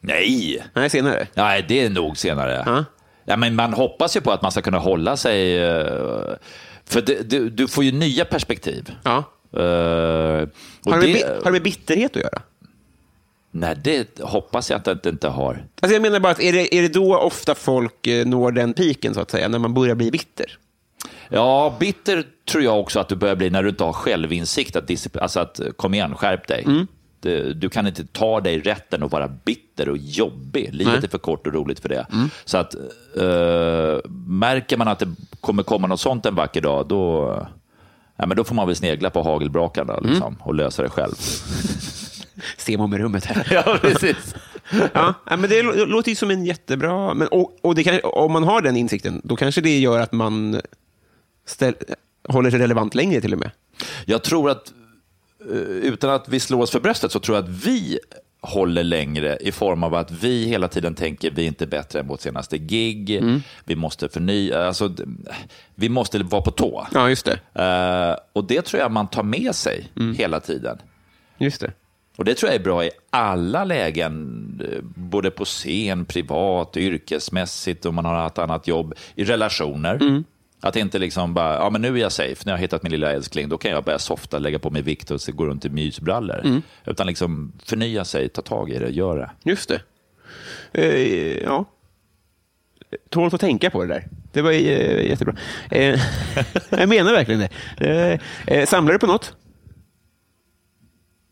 S3: Nej,
S2: Nej, senare.
S3: Nej, det är nog senare.
S2: Ja.
S3: Ja, men man hoppas ju på att man ska kunna hålla sig eh, För det, du, du får ju nya perspektiv.
S2: Ja.
S3: Eh, och
S2: Har det, med,
S3: det-
S2: bi- har det med bitterhet att göra?
S3: Nej, det hoppas jag att det inte har.
S2: Alltså jag menar bara att är det, är det då ofta folk eh, når den piken så att säga, när man börjar bli bitter?
S3: Ja, bitter tror jag också att du börjar bli när du inte har självinsikt. Att discipl- alltså att, eh, kom igen, skärp dig. Du, du kan inte ta dig rätten att vara bitter och jobbig. Livet är för kort och roligt för det. Så att eh, märker man att det kommer komma något sånt en vacker dag, då, ja, men då får man väl snegla på hagelbrakarna liksom, och lösa det själv.
S2: Ser med rummet här.
S3: ja, precis.
S2: Ja, ja, men det lå- det låter ju som en jättebra... Men, och och det kan, om man har den insikten, då kanske det gör att man ställ, håller sig relevant längre till och med.
S3: Jag tror att, eh, utan att vi slår oss för bröstet, så tror jag att vi håller längre i form av att vi hela tiden tänker vi är inte bättre än vårt senaste gig, vi måste förnya, alltså, d- vi måste vara på tå.
S2: Ja, just det.
S3: Eh, och det tror jag man tar med sig hela tiden.
S2: Just det.
S3: Och det tror jag är bra i alla lägen, eh, både på scen, privat, yrkesmässigt, om man har ett annat jobb, i relationer. Att inte liksom bara, ja men nu är jag safe, nu har jag hittat min lilla älskling, då kan jag börja softa, lägga på mig vikt och så gå runt i mysbrallor. Utan liksom förnya sig, ta tag i det, göra det.
S2: Just det. Eh, ja. Tål att tänka på det där. Det var eh, jättebra. Eh, jag menar verkligen det. Eh, eh, samlar du på något?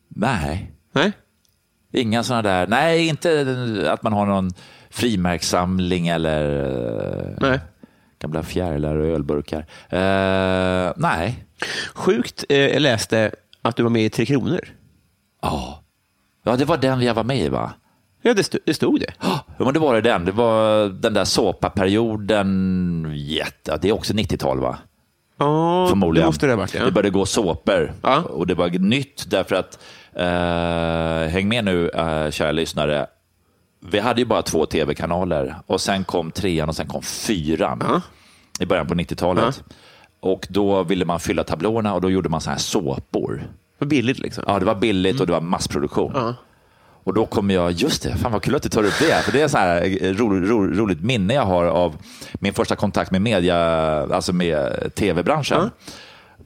S3: Nej,
S2: Nej?
S3: inga sådana där, nej inte att man har någon frimärkssamling eller eh,
S2: Nej.
S3: gamla fjärilar och ölburkar. Eh, nej,
S2: Sjukt, eh, jag läste att du var med i Tre Kronor.
S3: ja. Ja, det var den jag var med i va?
S2: Ja, det, sto- det stod det.
S3: Ja, men det var det den. Det var den där såpaperioden. Jätte, det är också 90-tal, va?
S2: Ja,
S3: Förmodligen.
S2: det måste det ha varit. Ja.
S3: Det började gå såpor.
S2: Ja.
S3: Och det var nytt därför att, eh, häng med nu, eh, kära lyssnare. Vi hade ju bara två tv-kanaler och sen kom trean och sen kom fyran i början på 90-talet. Och då ville man fylla tablåerna och då gjorde man så här såpor.
S2: Vad billigt liksom.
S3: Ja, det var billigt och det var massproduktion. Och då kommer jag, just det, fan vad kul att du tar upp det. För det är så här eh, ro, ro, roligt minne jag har av min första kontakt med media, alltså med tv-branschen.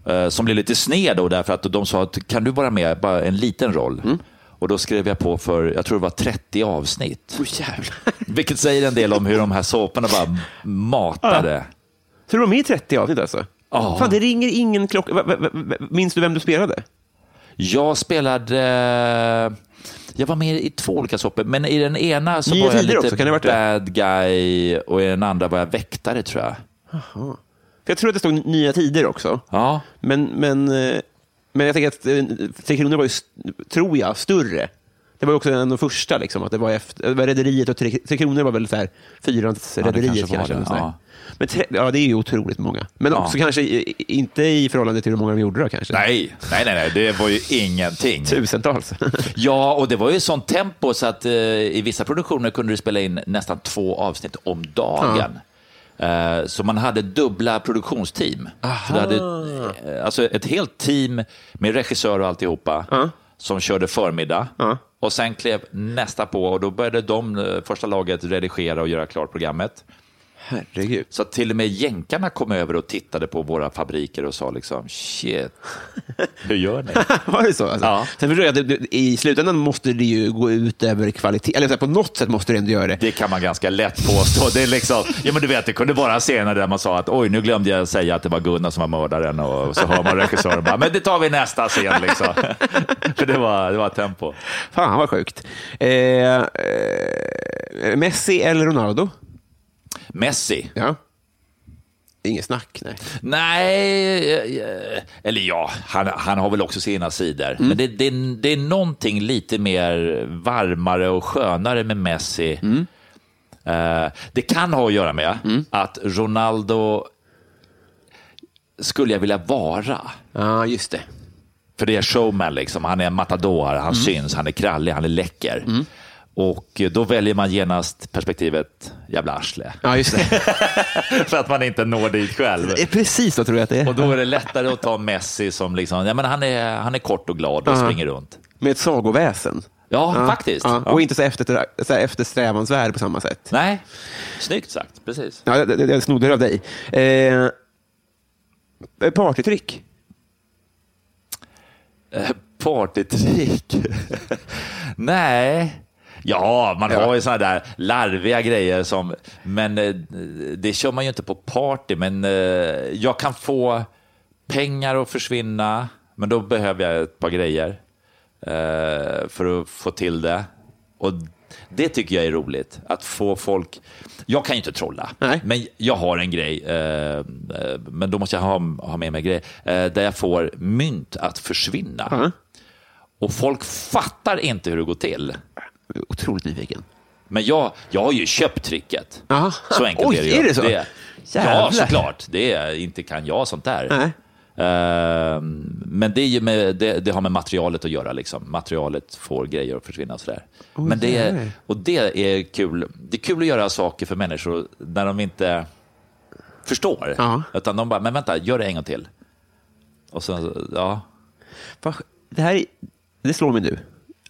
S3: Eh, Som blev lite sned då därför att de sa att kan du vara med, bara en liten roll. Och då skrev jag på för, jag tror det var 30 avsnitt.
S2: Åh, jävlar.
S3: Vilket säger en del om hur de här såporna bara matade.
S2: Så du var med i 30 avsnitt alltså?
S3: Ja.
S2: Fan, det ringer ingen klocka. Va- va- va- Minns du vem du spelade?
S3: Jag spelade... eh, Jag var med i två olika såpor, men i den ena så
S2: Nya
S3: var jag
S2: Tider
S3: lite
S2: också, kan det ha varit det?
S3: bad guy och i den andra var jag väktare tror jag.
S2: För jag tror att det stod Nya Tider också.
S3: Ja,
S2: Men, men, eh, men jag tänker att eh, Tre Kronor var ju, st- tror jag, större. Det var ju också en av de första, liksom, att det var, efter, det var Rederiet och Tre, Tre Kronor var väl så här, Fyrans
S3: det
S2: Rederiet
S3: kanske
S2: kanske.
S3: var det,
S2: eller så där.
S3: ja.
S2: Men tre, ja, det är ju otroligt många. Men
S3: Ja.
S2: också kanske i- i- inte i förhållande till hur många de gjorde då kanske.
S3: nej, nej, nej, nej, det var ju ingenting.
S2: Tusentals.
S3: Ja, och det var ju sånt tempo så att eh, i vissa produktioner kunde du spela in nästan två avsnitt om dagen. Eh, så man hade dubbla produktionsteam. Så du hade, eh, alltså ett helt team med regissör och alltihopa som körde förmiddag. Och sen klev nästa på och då började de, eh, första laget, redigera och göra klart programmet.
S2: Herregud.
S3: Så att till och med jänkarna kom över och tittade på våra fabriker och sa liksom shit, hur gör ni?
S2: Var det så? Alltså?
S3: Ja.
S2: Sen förstår jag att det- i slutändan måste det ju gå ut över kvalitet. Eller så här, på något sätt måste det ändå göra det.
S3: Det kan man ganska lätt påstå. Det, är liksom, ja, men du vet, det kunde vara scener där man sa att oj, nu glömde jag säga att det var Gunnar som var mördaren och så hör man regissören bara, men det tar vi nästa scen. Liksom. För det var, det var tempo.
S2: Fan vad sjukt. Eh, eh, Messi eller Ronaldo?
S3: Messi?
S2: Ja. Inget snack, nej.
S3: Nej, eh, eller ja, han, han har väl också sina sidor. Men det, det, är- det är någonting lite mer varmare och skönare med Messi. Eh, det kan ha att göra med att Ronaldo skulle jag vilja vara.
S2: Ja, just det.
S3: För det är showman, liksom. han är en matador, han syns, han är krallig, han är läcker. Och då väljer man genast perspektivet jävla arsle,
S2: Ja, just det.
S3: för att man inte når dit själv.
S2: det är precis så tror jag att det
S3: Och
S2: är.
S3: då är det lättare att ta Messi som liksom, ja, men han, är, han är kort och glad och springer runt.
S2: Med ett sagoväsen.
S3: Ja, faktiskt.
S2: Ja.
S3: Ja.
S2: Och inte så, efter, så här eftersträvansvärd på samma sätt.
S3: Nej, snyggt sagt, precis.
S2: Ja, jag, jag snodde det av dig. Eh, Eh, Partytrick.
S3: Eh, Partytrick? Nej. Ja, man har ju sådana där larviga grejer som, men eh, det kör man ju inte på party. Men eh, jag kan få pengar att försvinna, men då behöver jag ett par grejer eh, för att få till det. Och det tycker jag är roligt, att få folk... Jag kan ju inte trolla,
S2: Nej.
S3: men jag har en grej, eh, eh, men då måste jag ha, ha med mig grejer, eh, där jag får mynt att försvinna. Och folk fattar inte hur det går till.
S2: Jag är Otroligt nyfiken.
S3: Men jag, jag har ju köpt tricket.
S2: Aha.
S3: Så enkelt
S2: Oj,
S3: är det ju.
S2: är det så? Jävlar.
S3: ja, såklart. Det är, inte kan jag sånt där.
S2: Nej.
S3: Ehm, men det, är ju med, det, det har med materialet att göra. Liksom. Materialet får grejer att försvinna. Och, sådär. men det, är- och det är kul. Det är kul att göra saker för människor när de inte förstår.
S2: Ja.
S3: Utan de bara, men vänta, gör det en gång till. Och sen, ja.
S2: Vad sk- Det här är- det slår mig nu.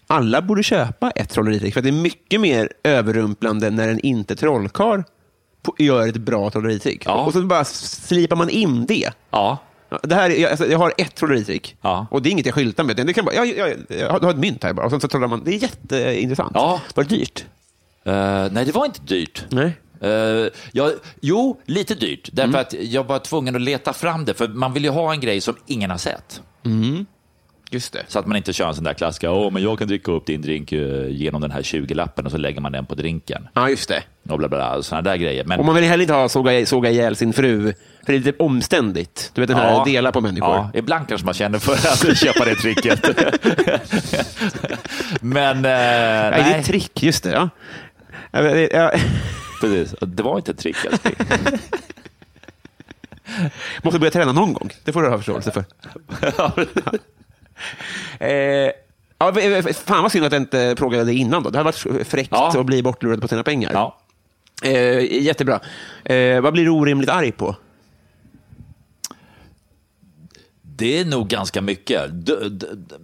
S2: Alla borde köpa ett trolleritrick, för att det är mycket mer överrumplande när en inte trollkarl på- gör ett bra trolleritrick.
S3: Ja.
S2: Och så bara slipar man in det.
S3: ja.
S2: Ja, Det här är, jag- alltså, jag har ett trolleritrick,
S3: Ja.
S2: och det är inget jag skyltar med. utan Det kan bara, jag, jag, jag, har- du har ett mynt här bara, och sen så trollar man. Det är jätteintressant.
S3: Ja.
S2: Var det dyrt?
S3: Eh, nej, det var inte dyrt.
S2: Nej.
S3: Eh, jag, jo, lite dyrt. Därför
S2: Mm.
S3: att jag var tvungen att leta fram det. För man vill ju ha en grej som ingen har sett.
S2: Just det.
S3: Så att man inte kör en sån där klassiska, åh, men jag kan dricka upp din drink eh, genom den här 20-lappen och så lägger man den på drinken.
S2: Ja, just det.
S3: Och bla, bla, bla, såna där grejer. Men,
S2: Och man vill heller inte ha såga, såga ihjäl sin fru, för det är lite omständigt. Du vet den här
S3: Ja.
S2: dela på människor.
S3: Ja, ibland kanske man känner för att köpa det tricket. men, eh,
S2: Nej, det är
S3: nej.
S2: ett trick. Just det, ja. Ja, men det- ja.
S3: Precis. Det var inte ett trick, alltså. älskling.
S2: måste börja träna någon gång. Det får du ha förståelse för. eh, ja, v- v- fan vad synd att jag inte frågade dig innan. Då. Det hade varit fräckt
S3: Ja.
S2: att bli bortlurad på sina pengar.
S3: Ja.
S2: Eh, jättebra. Eh, vad blir du orimligt arg på?
S3: Det är nog ganska mycket. D- d- d-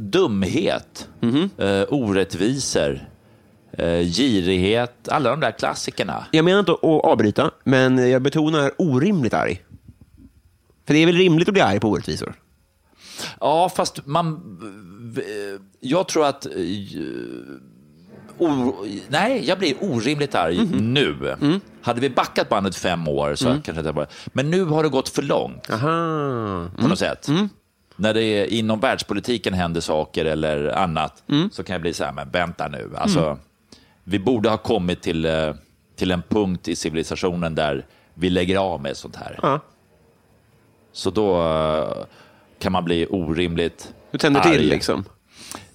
S3: dumhet, eh, orättvisor, eh, girighet, alla de där klassikerna.
S2: Jag menar inte att avbryta, men jag betonar orimligt arg. För det är väl rimligt att bli arg på orättvisor?
S3: Ja, fast man... eh, Jag tror att... eh, O, nej, jag blir orimligt arg nu. Hade vi backat bandet fem år så kanske det var... Men nu har det gått för långt. på något sätt. När det är inom världspolitiken händer saker eller annat så kan jag bli så här, men vänta nu. Alltså, Vi borde ha kommit till, eh, till en punkt i civilisationen där vi lägger av med sånt här. Så då eh, kan man bli orimligt
S2: Du tänder
S3: arg.
S2: till liksom.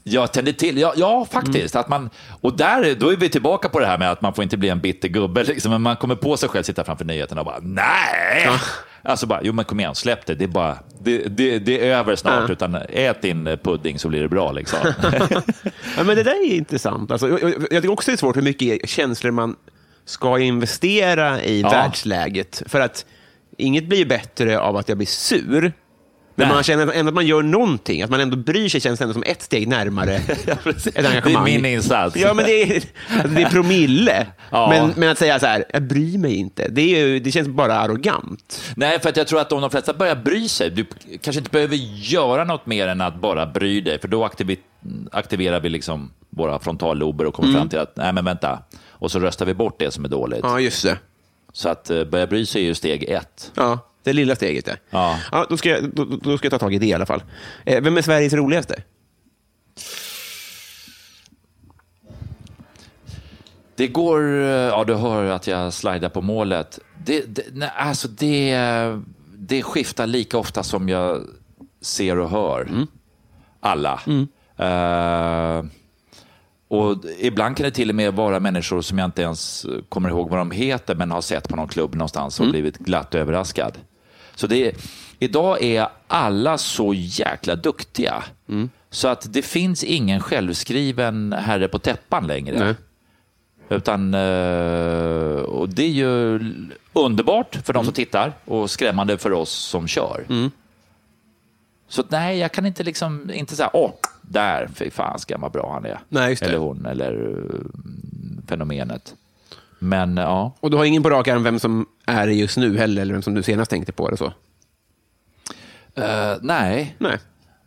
S3: Jag tände till, ja,
S2: Mm.
S3: ja faktiskt. Att man, och där, då är vi tillbaka på det här med att man får inte bli en bitter gubbe. Liksom, men man kommer på sig själv, sitta framför nyheterna och bara nej. Alltså bara, jo men kom igen, släpp det. Det är, bara, det, det, det är över snart.
S2: Ja.
S3: Utan ät din eh, pudding så blir det bra. Liksom.
S2: Ja, men det där är intressant. Alltså, jag, jag jag tycker också det är svårt hur mycket känslor man ska investera i
S3: Ja.
S2: världsläget. För att inget blir ju bättre av att jag blir sur. Men
S3: Nej.
S2: man känner att- ändå att man gör någonting, att man ändå bryr sig känns ändå som ett steg närmare
S3: precis.
S2: ett engagemang.
S3: Det är min insats.
S2: Ja, men det är, alltså, det är promille.
S3: Ja.
S2: Men, men att säga så här, jag bryr mig inte, det, är ju, det känns bara arrogant.
S3: Nej, för att jag tror att om de flesta börjar bry sig, du kanske inte behöver göra något mer än att bara bry dig, för då aktivi- aktiverar vi liksom våra frontallober och
S2: Mm.
S3: kommer fram till att, nej men vänta, och så röstar vi bort det som är dåligt.
S2: Ja, just det.
S3: Så att eh, börja bry sig är ju steg ett.
S2: Ja, det lilla steget. Ja.
S3: Ja.
S2: Ja, då, ska jag, då, då ska jag ta tag i det i alla fall. Eh, vem är Sveriges roligaste?
S3: Det går, eh, ja du hör att jag slidar på målet. Det, det, nej, alltså det, det skiftar lika ofta som jag ser och hör alla. Eh, och ibland kan det till och med vara människor som jag inte ens kommer ihåg vad de heter men har sett på någon klubb någonstans och blivit glatt överraskad. Så det är, idag är alla så jäkla duktiga. Så att det finns ingen självskriven herre på täppan längre. Utan, eh, och det är ju l- underbart för
S2: Mm.
S3: de som tittar och skrämmande för oss som kör. Så att, nej, jag kan inte liksom, inte säga, åh, där, fy fan ska vad bra han är.
S2: Nej, just det.
S3: Eller hon, eller eh, fenomenet. Men eh, ja,
S2: Och du har ingen på rak arm vem som är det just nu heller, eller vem som du senast tänkte på? Eller så.
S3: Eh, nej,
S2: Nej,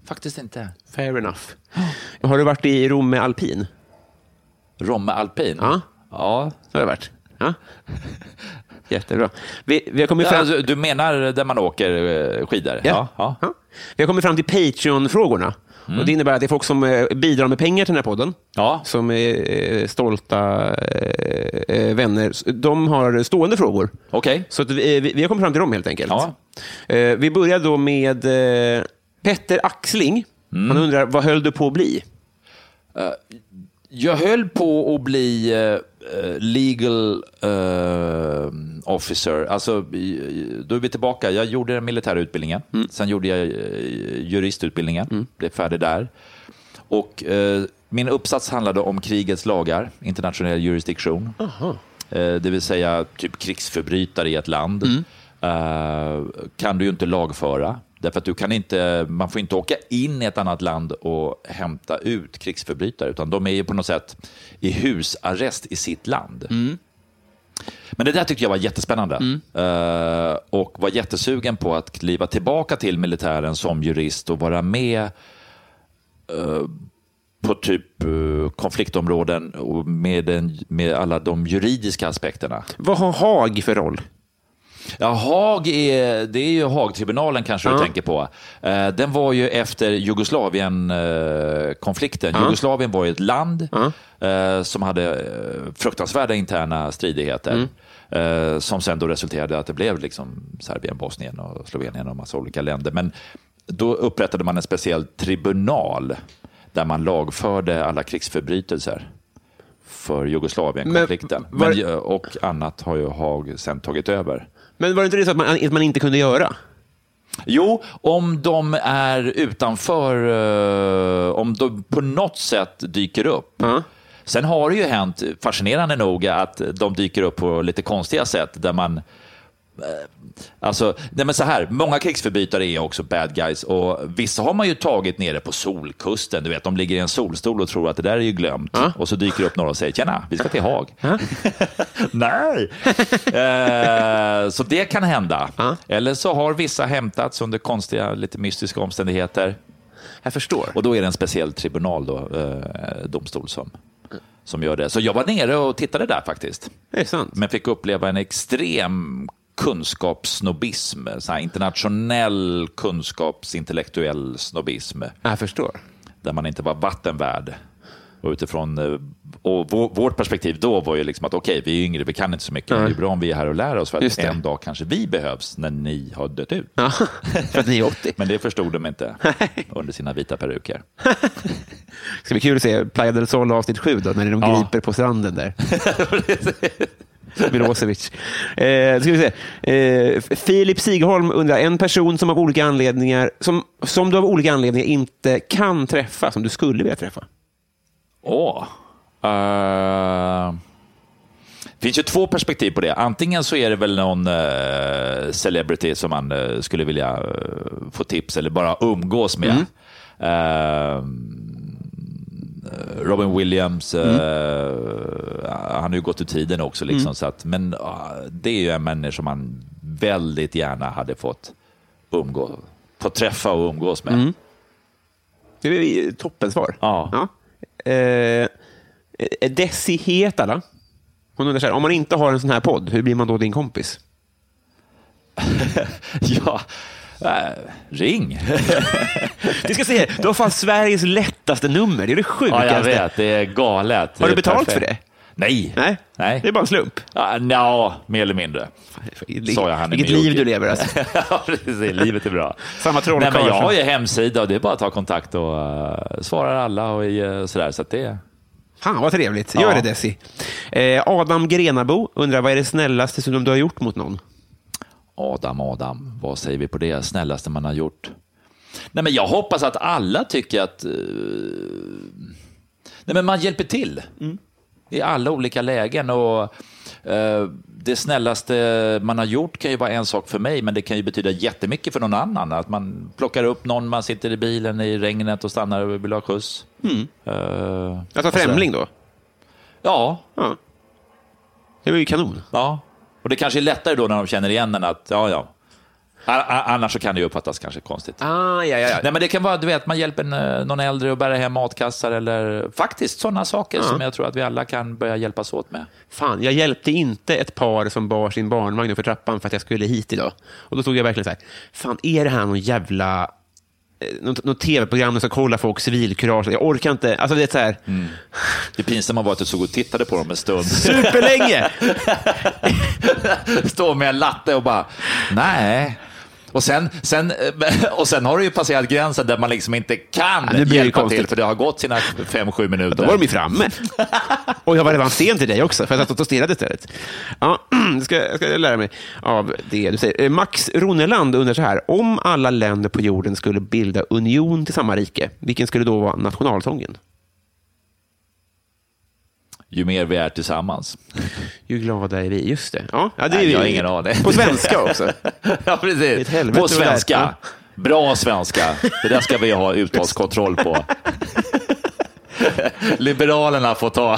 S3: faktiskt inte.
S2: fair enough. Har du varit i Rom med alpin?
S3: Romme Alpin?
S2: Ja.
S3: ja.
S2: Har du varit? Ja. Jättebra. Vi, vi har kommit fram...
S3: Alltså, du menar där man åker eh, skidor?
S2: Ja.
S3: ja.
S2: Ja. Vi har kommit fram till Patreon-frågorna.
S3: Mm.
S2: Och det innebär att det är folk som eh, bidrar med pengar till den här podden.
S3: Ja.
S2: Som är eh, stolta eh, eh, vänner. De har stående frågor.
S3: Okej.
S2: Så att vi, eh, vi vi har kommit fram till dem helt enkelt.
S3: Ja.
S2: Eh, Vi börjar då med eh, Petter Axling.
S3: Mm.
S2: Han undrar, vad höll du på att bli?
S3: Jag höll på att bli eh, eh, legal eh, officer. Alltså, i- i- då är vi tillbaka. Jag gjorde den militära utbildningen. Sen gjorde jag eh, juristutbildningen. Blev färdig där. Och, eh, min uppsats handlade om krigets lagar, internationell jurisdiktion. Eh, det vill säga typ krigsförbrytare i ett land. Eh, kan du ju inte lagföra. Därför att du kan inte, man får inte åka in i ett annat land och hämta ut krigsförbrytare, utan de är ju på något sätt i husarrest i sitt land. Men det där tyckte jag var jättespännande Eh, och var jättesugen på att kliva tillbaka till militären som jurist och vara med på typ eh, konfliktområden och med, den, med alla de juridiska aspekterna.
S2: Vad har Haag för roll?
S3: Ja, Haag är, det är ju Haagtribunalen kanske du tänker på. Eh, Den var ju efter Jugoslavien-konflikten. Jugoslavien var ju ett land eh, som hade eh, fruktansvärda interna
S2: Mm.
S3: stridigheter. eh, Som sen då resulterade i att det blev liksom Serbien, Bosnien och Slovenien och massa olika länder. Men då upprättade man en speciell tribunal där man lagförde alla krigsförbrytelser för Jugoslavien-konflikten.
S2: Men var-
S3: Men, eh, och annat har ju Haag sen tagit över.
S2: Men var det inte det så att man, att man inte kunde göra?
S3: Jo, om de är utanför, eh, om de på något sätt dyker upp. Sen har det ju hänt, fascinerande nog, att de dyker upp på lite konstiga sätt där man eh, Alltså, nej men så här, många krigsförbrytare är också bad guys och vissa har man ju tagit nere på solkusten. Du vet, de ligger i en solstol och tror att det där är ju glömt. Och så dyker det upp några och säger tjena, vi ska till Haag. Nej! Eh, så det kan hända. Eller så har vissa hämtats under konstiga, lite mystiska omständigheter.
S2: Jag förstår.
S3: Och då är det en speciell tribunal, då, eh, domstol, som, som gör det. Så jag var nere och tittade där faktiskt.
S2: Det är sant.
S3: Men fick uppleva en extrem kunskapssnobbism, så här internationell kunskapsintellektuell snobbism
S2: Jag förstår.
S3: där man inte var vattenvärd. Och utifrån eh, och vå- vårt perspektiv då var ju liksom att okej, vi är yngre, vi kan inte så mycket, men det är bra om vi är här och lär oss för
S2: Just
S3: att
S2: det.
S3: en dag kanske vi behövs när ni har dött ut.
S2: Ja, för att ni är 80.
S3: Men det förstod de inte under sina vita peruker.
S2: Det ska bli kul att se Playa del Sol avsnitt 7, då, när de
S3: Ja.
S2: griper på stranden där. Milosevic. Eh, då ska vi se. Eh, Filip Sigholm undrar, en person som av olika anledningar, som, som du av olika anledningar inte kan träffa, som du skulle vilja träffa.
S3: Åh. Eh, Det finns ju två perspektiv på det. Antingen så är det väl någon eh, celebrity som man eh, skulle vilja eh, få tips eller bara umgås med. Eh, Robin Williams, eh, han har ju gått ur tiden också. Liksom, så att, men ah, det är ju en människa som man väldigt gärna hade fått, umgå, fått träffa och umgås med.
S2: Det är ju toppensvar.
S3: Ja.
S2: Eh, Desi Hetala. Hon undrar så här, om man inte har en sån här podd, hur blir man då din kompis?
S3: Ja, eh, ring!
S2: Det ska säga, du har fan Sveriges lättaste nummer. Det är det
S3: Ja,
S2: sjukaste.
S3: jag vet. Det är galet.
S2: Har
S3: Det
S2: du
S3: är
S2: betalt
S3: perfekt.
S2: för det?
S3: Nej.
S2: Nej,
S3: Nej.
S2: det är bara en slump.
S3: Ja, nja, mer eller mindre. Sa jag, han är
S2: Vilket
S3: med i
S2: liv du
S3: Jocke.
S2: lever alltså.
S3: Ja, precis. Livet är bra.
S2: Samma trollkarl
S3: Nej, men Jag
S2: som-
S3: har ju hemsida och det är bara att ta kontakt och eh, svarar alla och eh, sådär. Så att det...
S2: Fan vad trevligt. Gör
S3: Ja.
S2: det Desi. Eh, Adam Grenabo undrar, vad är det snällaste som du har gjort mot någon?
S3: Adam, Adam, vad säger vi på det? Snällaste man har gjort. Nej, men jag hoppas att alla tycker att eh, nej, men man hjälper till i alla olika lägen. Och, eh, det snällaste man har gjort kan ju vara en sak för mig, men det kan ju betyda jättemycket för någon annan. Att man plockar upp någon, man sitter i bilen i regnet och stannar och vill ha skjuts. Eh,
S2: Alltså främling då?
S3: ja,
S2: Ja. Det var ju kanon.
S3: Ja. Och det kanske är lättare då när de känner igen den att, ja, ja. A- a- Annars så kan det ju uppfattas kanske konstigt.
S2: Ah, ja, ja, ja.
S3: Nej, men det kan vara, du vet, man hjälper en, eh, någon äldre att bära hem matkassar eller faktiskt sådana saker som jag tror att vi alla kan börja hjälpas åt med.
S2: Fan, jag hjälpte inte ett par som bar sin barnvagn uppför trappan för att jag skulle hit idag. Och då stod jag verkligen så här, fan är det här någon jävla eh, något, något tv-program där ska kolla folk civilkurage. Jag orkar inte. Alltså, det är så här,
S3: Mm. Det pinsamma var att du såg och tittade på dem en stund.
S2: superlänge!
S3: Stå med en latte och bara, nej. Och sen, sen, eh, och sen har du ju passerat gränsen där man liksom inte kan
S2: Ja, det blir ju
S3: hjälpa
S2: konstigt.
S3: till för det har gått sina fem sju
S2: Då var
S3: minuter.
S2: de ju framme. Och jag var redan sen till dig också, för jag satt och stirrade istället. Ja, det ska, jag ska lära mig av det du säger. Eh, Max Roneland undrar så här, om alla länder på jorden skulle bilda union till samma rike, vilken skulle då vara nationalsången?
S3: Ju mer vi är tillsammans.
S2: Ju glada är vi. Just det. Ja, ja, det är
S3: Nej,
S2: ju
S3: jag har ingen aning.
S2: På svenska också.
S3: Ja,
S2: Ett
S3: precis.
S2: helvete
S3: På
S2: vad det är.
S3: svenska. Bra svenska. Det där ska vi ha uttalskontroll på. Liberalerna får ta,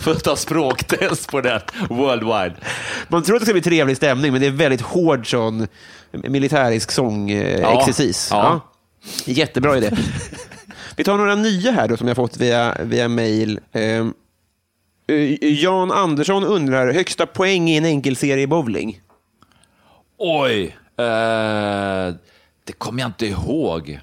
S3: får ta språktest på den worldwide.
S2: Man tror att det ska bli trevlig stämning, men det är väldigt hård sån militärisk sångexercis.
S3: Ja,
S2: exercis.
S3: ja.
S2: Jättebra idé. Vi tar några nya här då, som jag fått via, via mail. Ehm, eh, Jan Andersson undrar, högsta poäng i en enkelserie i bowling?
S3: Oj, eh, det kommer jag inte ihåg.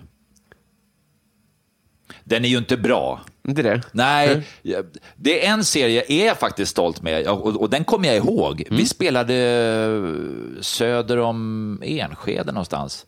S3: Den är ju inte bra.
S2: Inte det?
S3: Nej, jag- det är en serie jag är faktiskt stolt med och, och, och den kommer jag ihåg.
S2: Mm.
S3: Vi spelade eh, söder om Enskede någonstans.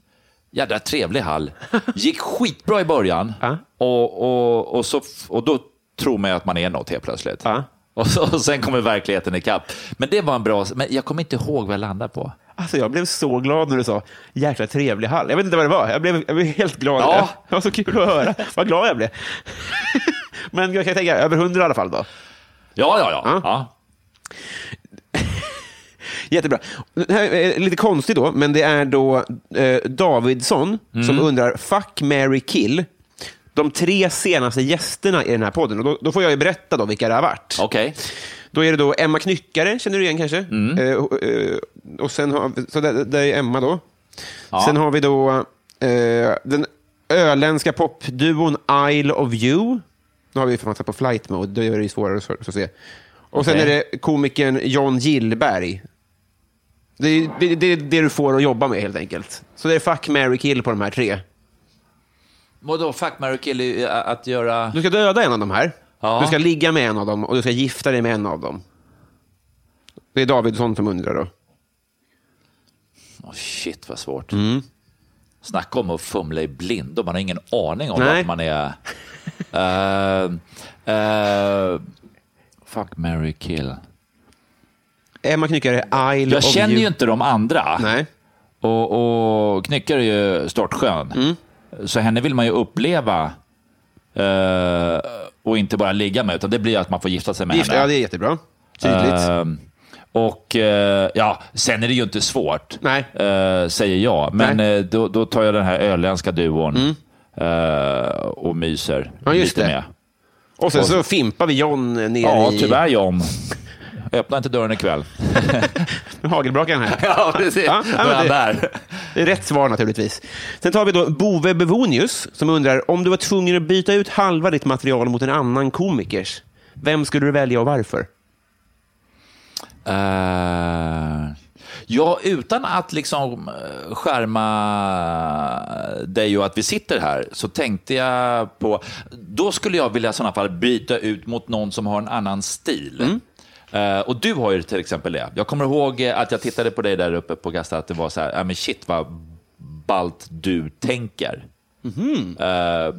S3: Jädra trevlig hall. Gick skitbra i början
S2: Ja.
S3: och, och, och, så, f- och då tror man ju att man är något helt plötsligt.
S2: Ja.
S3: Och, så, och sen kommer verkligheten ikapp. Men det var en bra, men jag kommer inte ihåg vad jag landade på.
S2: Alltså, jag blev så glad när du sa jäkla trevlig hall. Jag vet inte vad det var. Jag blev, jag blev helt glad.
S3: Ja.
S2: Det var så kul att höra. Vad glad jag blev. Men jag kan tänka, över hundra i alla fall då.
S3: Ja, ja, ja.
S2: Ja.
S3: ja.
S2: Jättebra. Det här är lite konstigt då, men det är då eh, Davidsson som undrar, fuck, Mary kill, de tre senaste gästerna i den här podden. Och då, då får jag ju berätta då vilka det har varit.
S3: Okej.
S2: Då är det då Emma Knyckare, känner du igen kanske?
S3: Mm.
S2: Eh, och, eh, och sen har, vi- så där, där är Emma då. Sen har vi då eh, den öländska popduon Isle of You. Nu har vi för satt på flight mode, då är det ju svårare att, att se. Och sen
S3: Okej.
S2: är det komikern John Gillberg. Det är det, det, är det du får att jobba med helt enkelt. Så det är fuck, marry, kill på de här tre.
S3: Vadå, fuck, marry, kill i- ä, att göra...
S2: Du ska döda en av de här.
S3: Ja.
S2: Du ska ligga med en av dem och du ska gifta dig med en av dem. Det är Davidsson som undrar då.
S3: Åh shit, vad svårt.
S2: Mm.
S3: Snacka om att fumla i blindo. Man har ingen aning om
S2: Nej.
S3: att man är... Eh, eh, fuck, marry, kill.
S2: Emma Knyckare, Isle
S3: Jag
S2: of
S3: känner
S2: you.
S3: ju inte de andra.
S2: Nej.
S3: Och, och Knyckare är ju startskön.
S2: Mm.
S3: Så henne vill man ju uppleva eh, och inte bara ligga med, utan det blir att man får gifta sig med
S2: Gift,
S3: henne.
S2: ja, det är jättebra. Tydligt.
S3: Ehm, och eh, ja, sen är det ju inte svårt,
S2: Nej.
S3: eh, säger jag. Men
S2: Nej. Mm.
S3: eh, då, då tar jag den här öländska duon eh, och myser
S2: Ja, just
S3: lite
S2: det.
S3: med.
S2: och sen så fimpar vi John ner
S3: Ja,
S2: i
S3: tyvärr John. Öppna inte dörren ikväll.
S2: hagelbrakan här.
S3: ja, precis.
S2: Ja,
S3: Då
S2: ja, men
S3: är han
S2: det-
S3: där.
S2: Det är Rätt svar naturligtvis. Sen tar vi då Bove Bevonius som undrar om du var tvungen att byta ut halva ditt material mot en annan komikers. Vem skulle du välja och varför?
S3: Eh, ja, utan att liksom eh, skärma dig och att vi sitter här, så tänkte jag på... Då skulle jag vilja i sådana fall byta ut mot någon som har en annan stil. Eh, och du har ju till exempel det. Jag kommer ihåg eh, att jag tittade på dig där uppe på Gasta, att det var så här, "Ah, men shit vad ballt du tänker. Eh,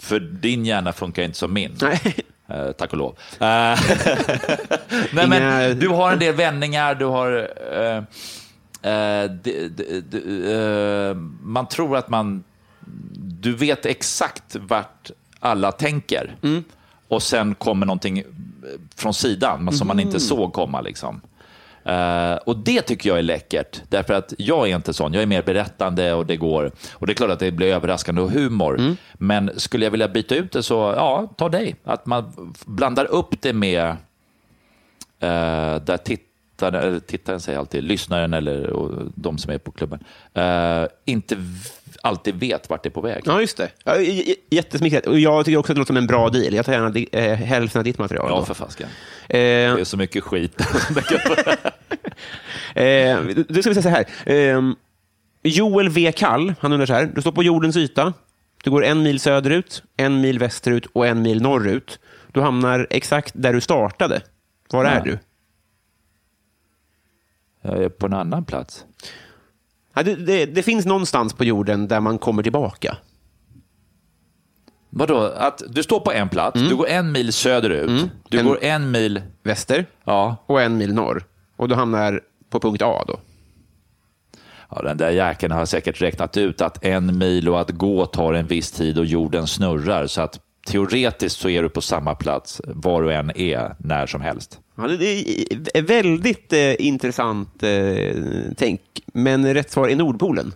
S3: för din hjärna funkar inte som min.
S2: Nej.
S3: Eh, tack och lov. Eh, Nej, men, du har en del vändningar, du har... Eh, eh, d- d- d- eh, man tror att man... Du vet exakt vart alla tänker. Och sen kommer någonting eh, från sidan men som man inte såg komma. Liksom. Eh, och det tycker jag är läckert, därför att jag är inte sån. Jag är mer berättande och det går. Och det är klart att det blir överraskande och humor. Men skulle jag vilja byta ut det så, ja, ta dig. Att man f- blandar upp det med eh, där titt tittaren, eller tittaren säger jag alltid, lyssnaren eller och de som är på klubben, eh, inte v- alltid vet vart det är på väg.
S2: Ja, just det. Ja, j- j- jättesmickrande. Och jag tycker också att det låter som en bra deal. Jag tar gärna di- eh, hälften av ditt material.
S3: Ja,
S2: då.
S3: för fasken.
S2: Eh,
S3: Det är så mycket skit.
S2: Eh, då ska vi säga så här. Ehm, Joel V. Kall, han undrar så här. Du står på jordens yta. Du går en mil söderut, en mil västerut och en mil norrut. Du hamnar exakt där du startade. Var är
S3: Ja.
S2: du?
S3: jag är Eh, på en annan plats.
S2: Ja, det, det, det finns någonstans på jorden där man kommer tillbaka.
S3: Vadå, att du står på en plats, du går en mil söderut, du
S2: En-
S3: går Mm. en mil...
S2: Väster
S3: Ja,
S2: och en mil norr. Och du hamnar på punkt A då.
S3: Ja, den där jäkeln har säkert räknat ut att en mil och att gå tar en viss tid och jorden snurrar. Så att teoretiskt så är du på samma plats var du än är när som helst.
S2: Ja, det det är väldigt eh, intressant eh, tänk. Men rätt svar är Nordpolen.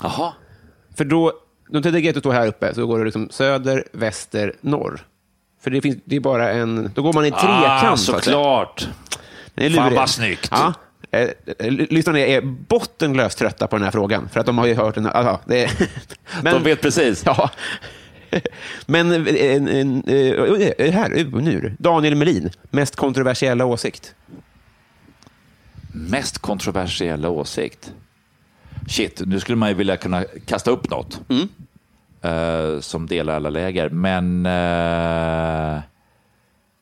S3: Jaha.
S2: För då, de tänker att du står här uppe, så går du liksom söder, väster, norr. För det, finns, det är bara en... Då går man i trekant.
S3: Ah,
S2: så att säga.
S3: såklart.
S2: Det är
S3: Fan,
S2: lurigt.
S3: vad snyggt.
S2: Ja. Eh, eh, Lyssnarna är bottenlöst trötta på den här frågan, för att de har ju hört den. Alltså, det är, men,
S3: De vet precis.
S2: Ja. Men en, en, en, eh, eh, här, eh, nu. Daniel Melin, mest kontroversiella åsikt.
S3: Mest kontroversiella åsikt. Shit, nu skulle man ju vilja kunna kasta upp något
S2: Mm.
S3: eh, som delar alla läger. Men eh,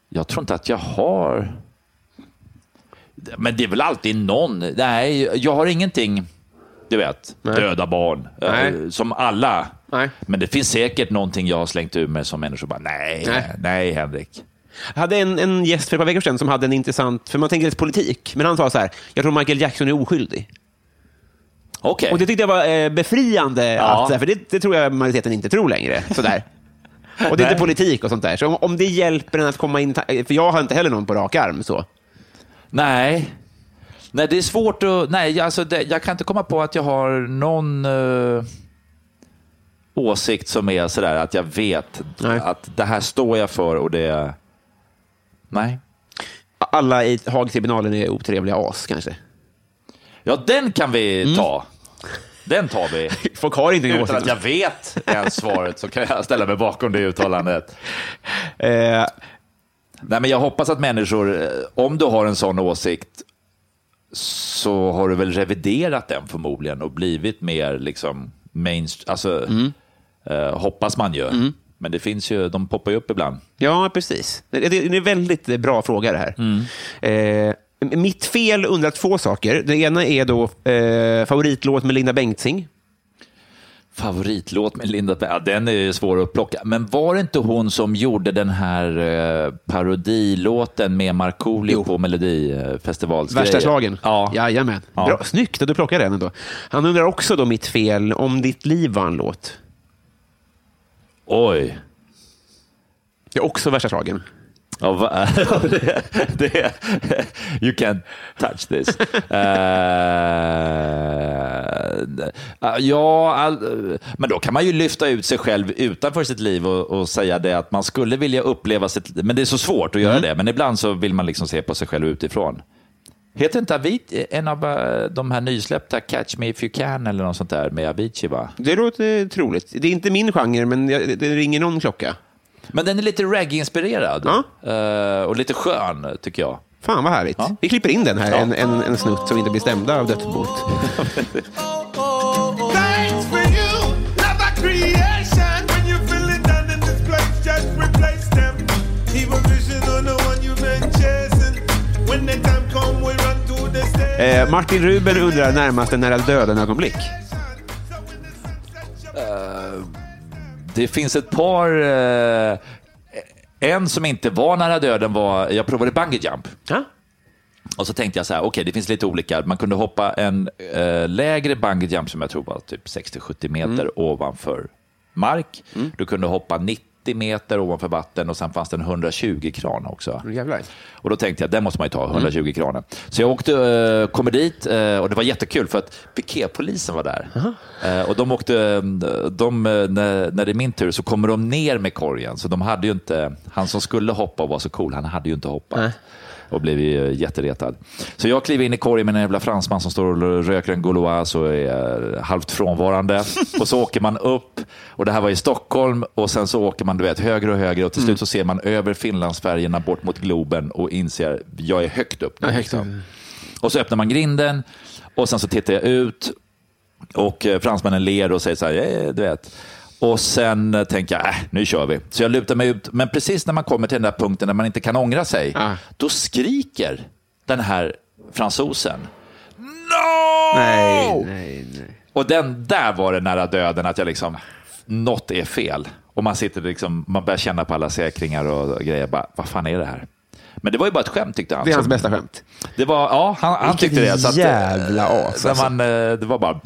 S3: jag tror inte att jag har... Men det är väl alltid någon. Nej, jag har ingenting. Du vet, döda barn. eh,
S2: Nej.
S3: Som alla.
S2: Nej.
S3: Men det finns säkert någonting jag har slängt ur mig som människor bara, nej,
S2: Nej.
S3: nej, Henrik.
S2: Jag hade en, en gäst för ett par veckor sedan som hade en intressant, för man tänker lite politik, men han sa så här, jag tror Michael Jackson är oskyldig.
S3: Okej.
S2: Och det tyckte jag var eh, befriande, att, så här, för det, det tror jag majoriteten inte tror längre. Sådär. Och det är inte
S3: Nej.
S2: politik och sånt där. Så om, om det hjälper en att komma in, ta- för jag har inte heller någon på rak arm. Så.
S3: Nej. Nej, det är svårt att... Nej, alltså det, jag kan inte komma på att jag har någon eh, åsikt som är sådär att jag vet
S2: Nej.
S3: att det här står jag för och det... Nej.
S2: Alla i Haagtribunalen är otrevliga as kanske.
S3: Ja, den kan vi ta. Den tar vi.
S2: Folk har inte någon
S3: Utan att
S2: åsikt.
S3: jag vet ens svaret så kan jag ställa mig bakom det uttalandet.
S2: Eh,
S3: Nej, men jag hoppas att människor, eh, om du har en sån åsikt, så har du väl reviderat den förmodligen och blivit mer liksom mainstream. Alltså,
S2: Mm.
S3: eh, hoppas man ju. Men det finns ju, de poppar ju upp ibland.
S2: ja, precis. Det, det, det är en väldigt bra fråga det här.
S3: Mm.
S2: Eh, mitt fel undrar två saker. Det ena är då eh, favoritlåt med Linda Bengtzing.
S3: Favoritlåt med Linda Pe- ja, den är ju svår att plocka. Men var det inte hon som gjorde den här eh, parodilåten med Markoolio på Melodifestivalsgrejen?
S2: Värsta slagen.
S3: Ja.
S2: Jajamän.
S3: Ja.
S2: Bra, snyggt att du plockade den ändå. Han undrar också då mitt fel om ditt liv var en låt.
S3: Oj.
S2: Det är också värsta slagen.
S3: Ja, va? det, det, you can touch this. Eh, ja, all, men då kan man ju lyfta ut sig själv utanför sitt liv och, och säga det att man skulle vilja uppleva sitt Men det är så svårt att göra det. Men ibland så vill man liksom se på sig själv utifrån. Heter inte Avicii en av eh, de här nysläppta Catch Me If You Can eller något sånt där med Avicii? Va?
S2: Det låter troligt. Det är inte min genre, men jag, det ringer någon klocka.
S3: Men den är lite reggae-inspirerad
S2: Ja.
S3: Eh, och lite skön tycker jag.
S2: Fan vad härligt.
S3: Ja.
S2: Vi klipper in den här,
S3: Ja.
S2: en, en, en snutt som inte blir stämda av dödsbot.
S5: Thanks for you, love our creation. When you feel it down in this place, just replace them. Evil vision on the one you've been chasing. When the time come, we run to the station.
S2: Eh, Martin Ruben undrar närmast en nära döden-ögonblick.
S3: Det finns ett par... Eh, en som inte var nära döden var... Jag provade bungee jump.
S2: Ja?
S3: Och så tänkte jag så här, okej, det finns lite olika. Man kunde hoppa en eh, lägre bungee jump som jag tror var typ 60-70 meter ovanför mark. Du kunde hoppa 90 meter ovanför vatten och sen fanns det en 120-kran också.
S2: Jävlar.
S3: Och då tänkte jag, den måste man ju ta, 120 kranen. Så jag åkte, eh, kommer dit eh, och det var jättekul för att piketpolisen var där. Eh, Och de åkte, eh, de, eh, när, när det är min tur så kommer de ner med korgen. Så de hade ju inte, han som skulle hoppa och var så cool, han hade ju inte hoppat. och blivit eh, jätteretad. Så jag kliver in i korgen med en jävla fransman som står och röker en Gauloise och är eh, halvt frånvarande. Och så åker man upp, och det här var i Stockholm, och sen så åker man du vet, högre och högre och till slut så ser man över Finlandsfärjorna bort mot Globen och inser jag är högt upp. nu, liksom. Och så öppnar man grinden och sen så tittar jag ut och eh, fransmännen ler och säger så här, "Eh, du vet. Och sen eh, tänker jag, äh, nu kör vi. Så jag lutar mig ut, men precis när man kommer till den där punkten där man inte kan ångra sig,
S2: Ah.
S3: då skriker den här fransosen. No!
S2: Nej, nej, nej.
S3: Och den där var det nära döden, att jag liksom, något är fel. Och man sitter liksom, man börjar känna på alla säkringar och grejer, bara, vad fan är det här? Men det var ju bara ett skämt tyckte han.
S2: Det är hans
S3: Så-
S2: bästa skämt.
S3: det var, ja, han, han
S2: Vilket
S3: tyckte det. Så att, eh,
S2: jävla as,
S3: när
S2: alltså.
S3: man, eh, det var bara...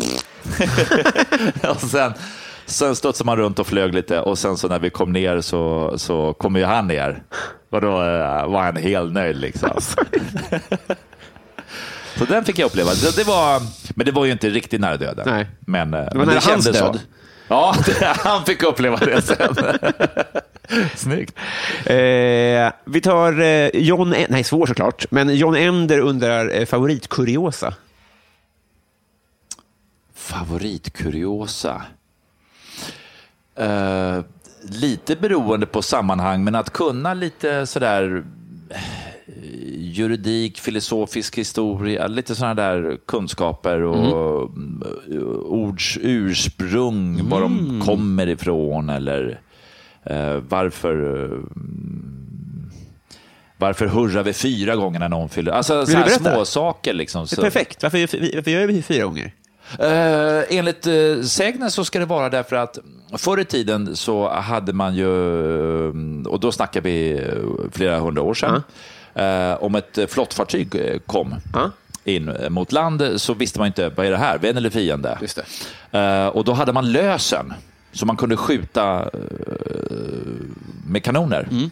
S3: och sen, sen studsade man runt och flög lite och sen så när vi kom ner så, så kom ju han ner. Och då eh, var han helt nöjd liksom. så den fick jag uppleva. Så det var, men det var ju inte riktigt nära döden.
S2: Nej.
S3: Men, eh, men det
S2: nära hans
S3: kändes så.
S2: död.
S3: Ja, det, han fick uppleva det sen. Snyggt.
S2: Eh, vi tar eh, John... En- nej, svår såklart. Men John Ender undrar eh, favoritkuriosa.
S3: Favoritkuriosa? Eh, lite beroende på sammanhang, men att kunna lite sådär eh, juridik, filosofisk historia, lite sådana där kunskaper och mm. ords ursprung,
S2: Mm.
S3: var de kommer ifrån eller eh, varför eh, varför hurrar vi fyra gånger när någon fyller... Alltså sådana
S2: berätta?
S3: små saker liksom.
S2: Det är
S3: så-
S2: perfekt. Varför, varför gör vi fyra gånger?
S3: Eh, enligt eh, sägnen så ska det vara därför att förr i tiden så hade man ju, eh, och då snackar vi eh, flera hundra år sedan, eh, om ett eh, flottfartyg eh, kom
S2: Ja.
S3: in eh, mot land eh, så visste man inte, vad är det här, vän eller fiende?
S2: Just
S3: Eh, och då hade man lösen som man kunde skjuta eh, med kanoner.
S2: Mm.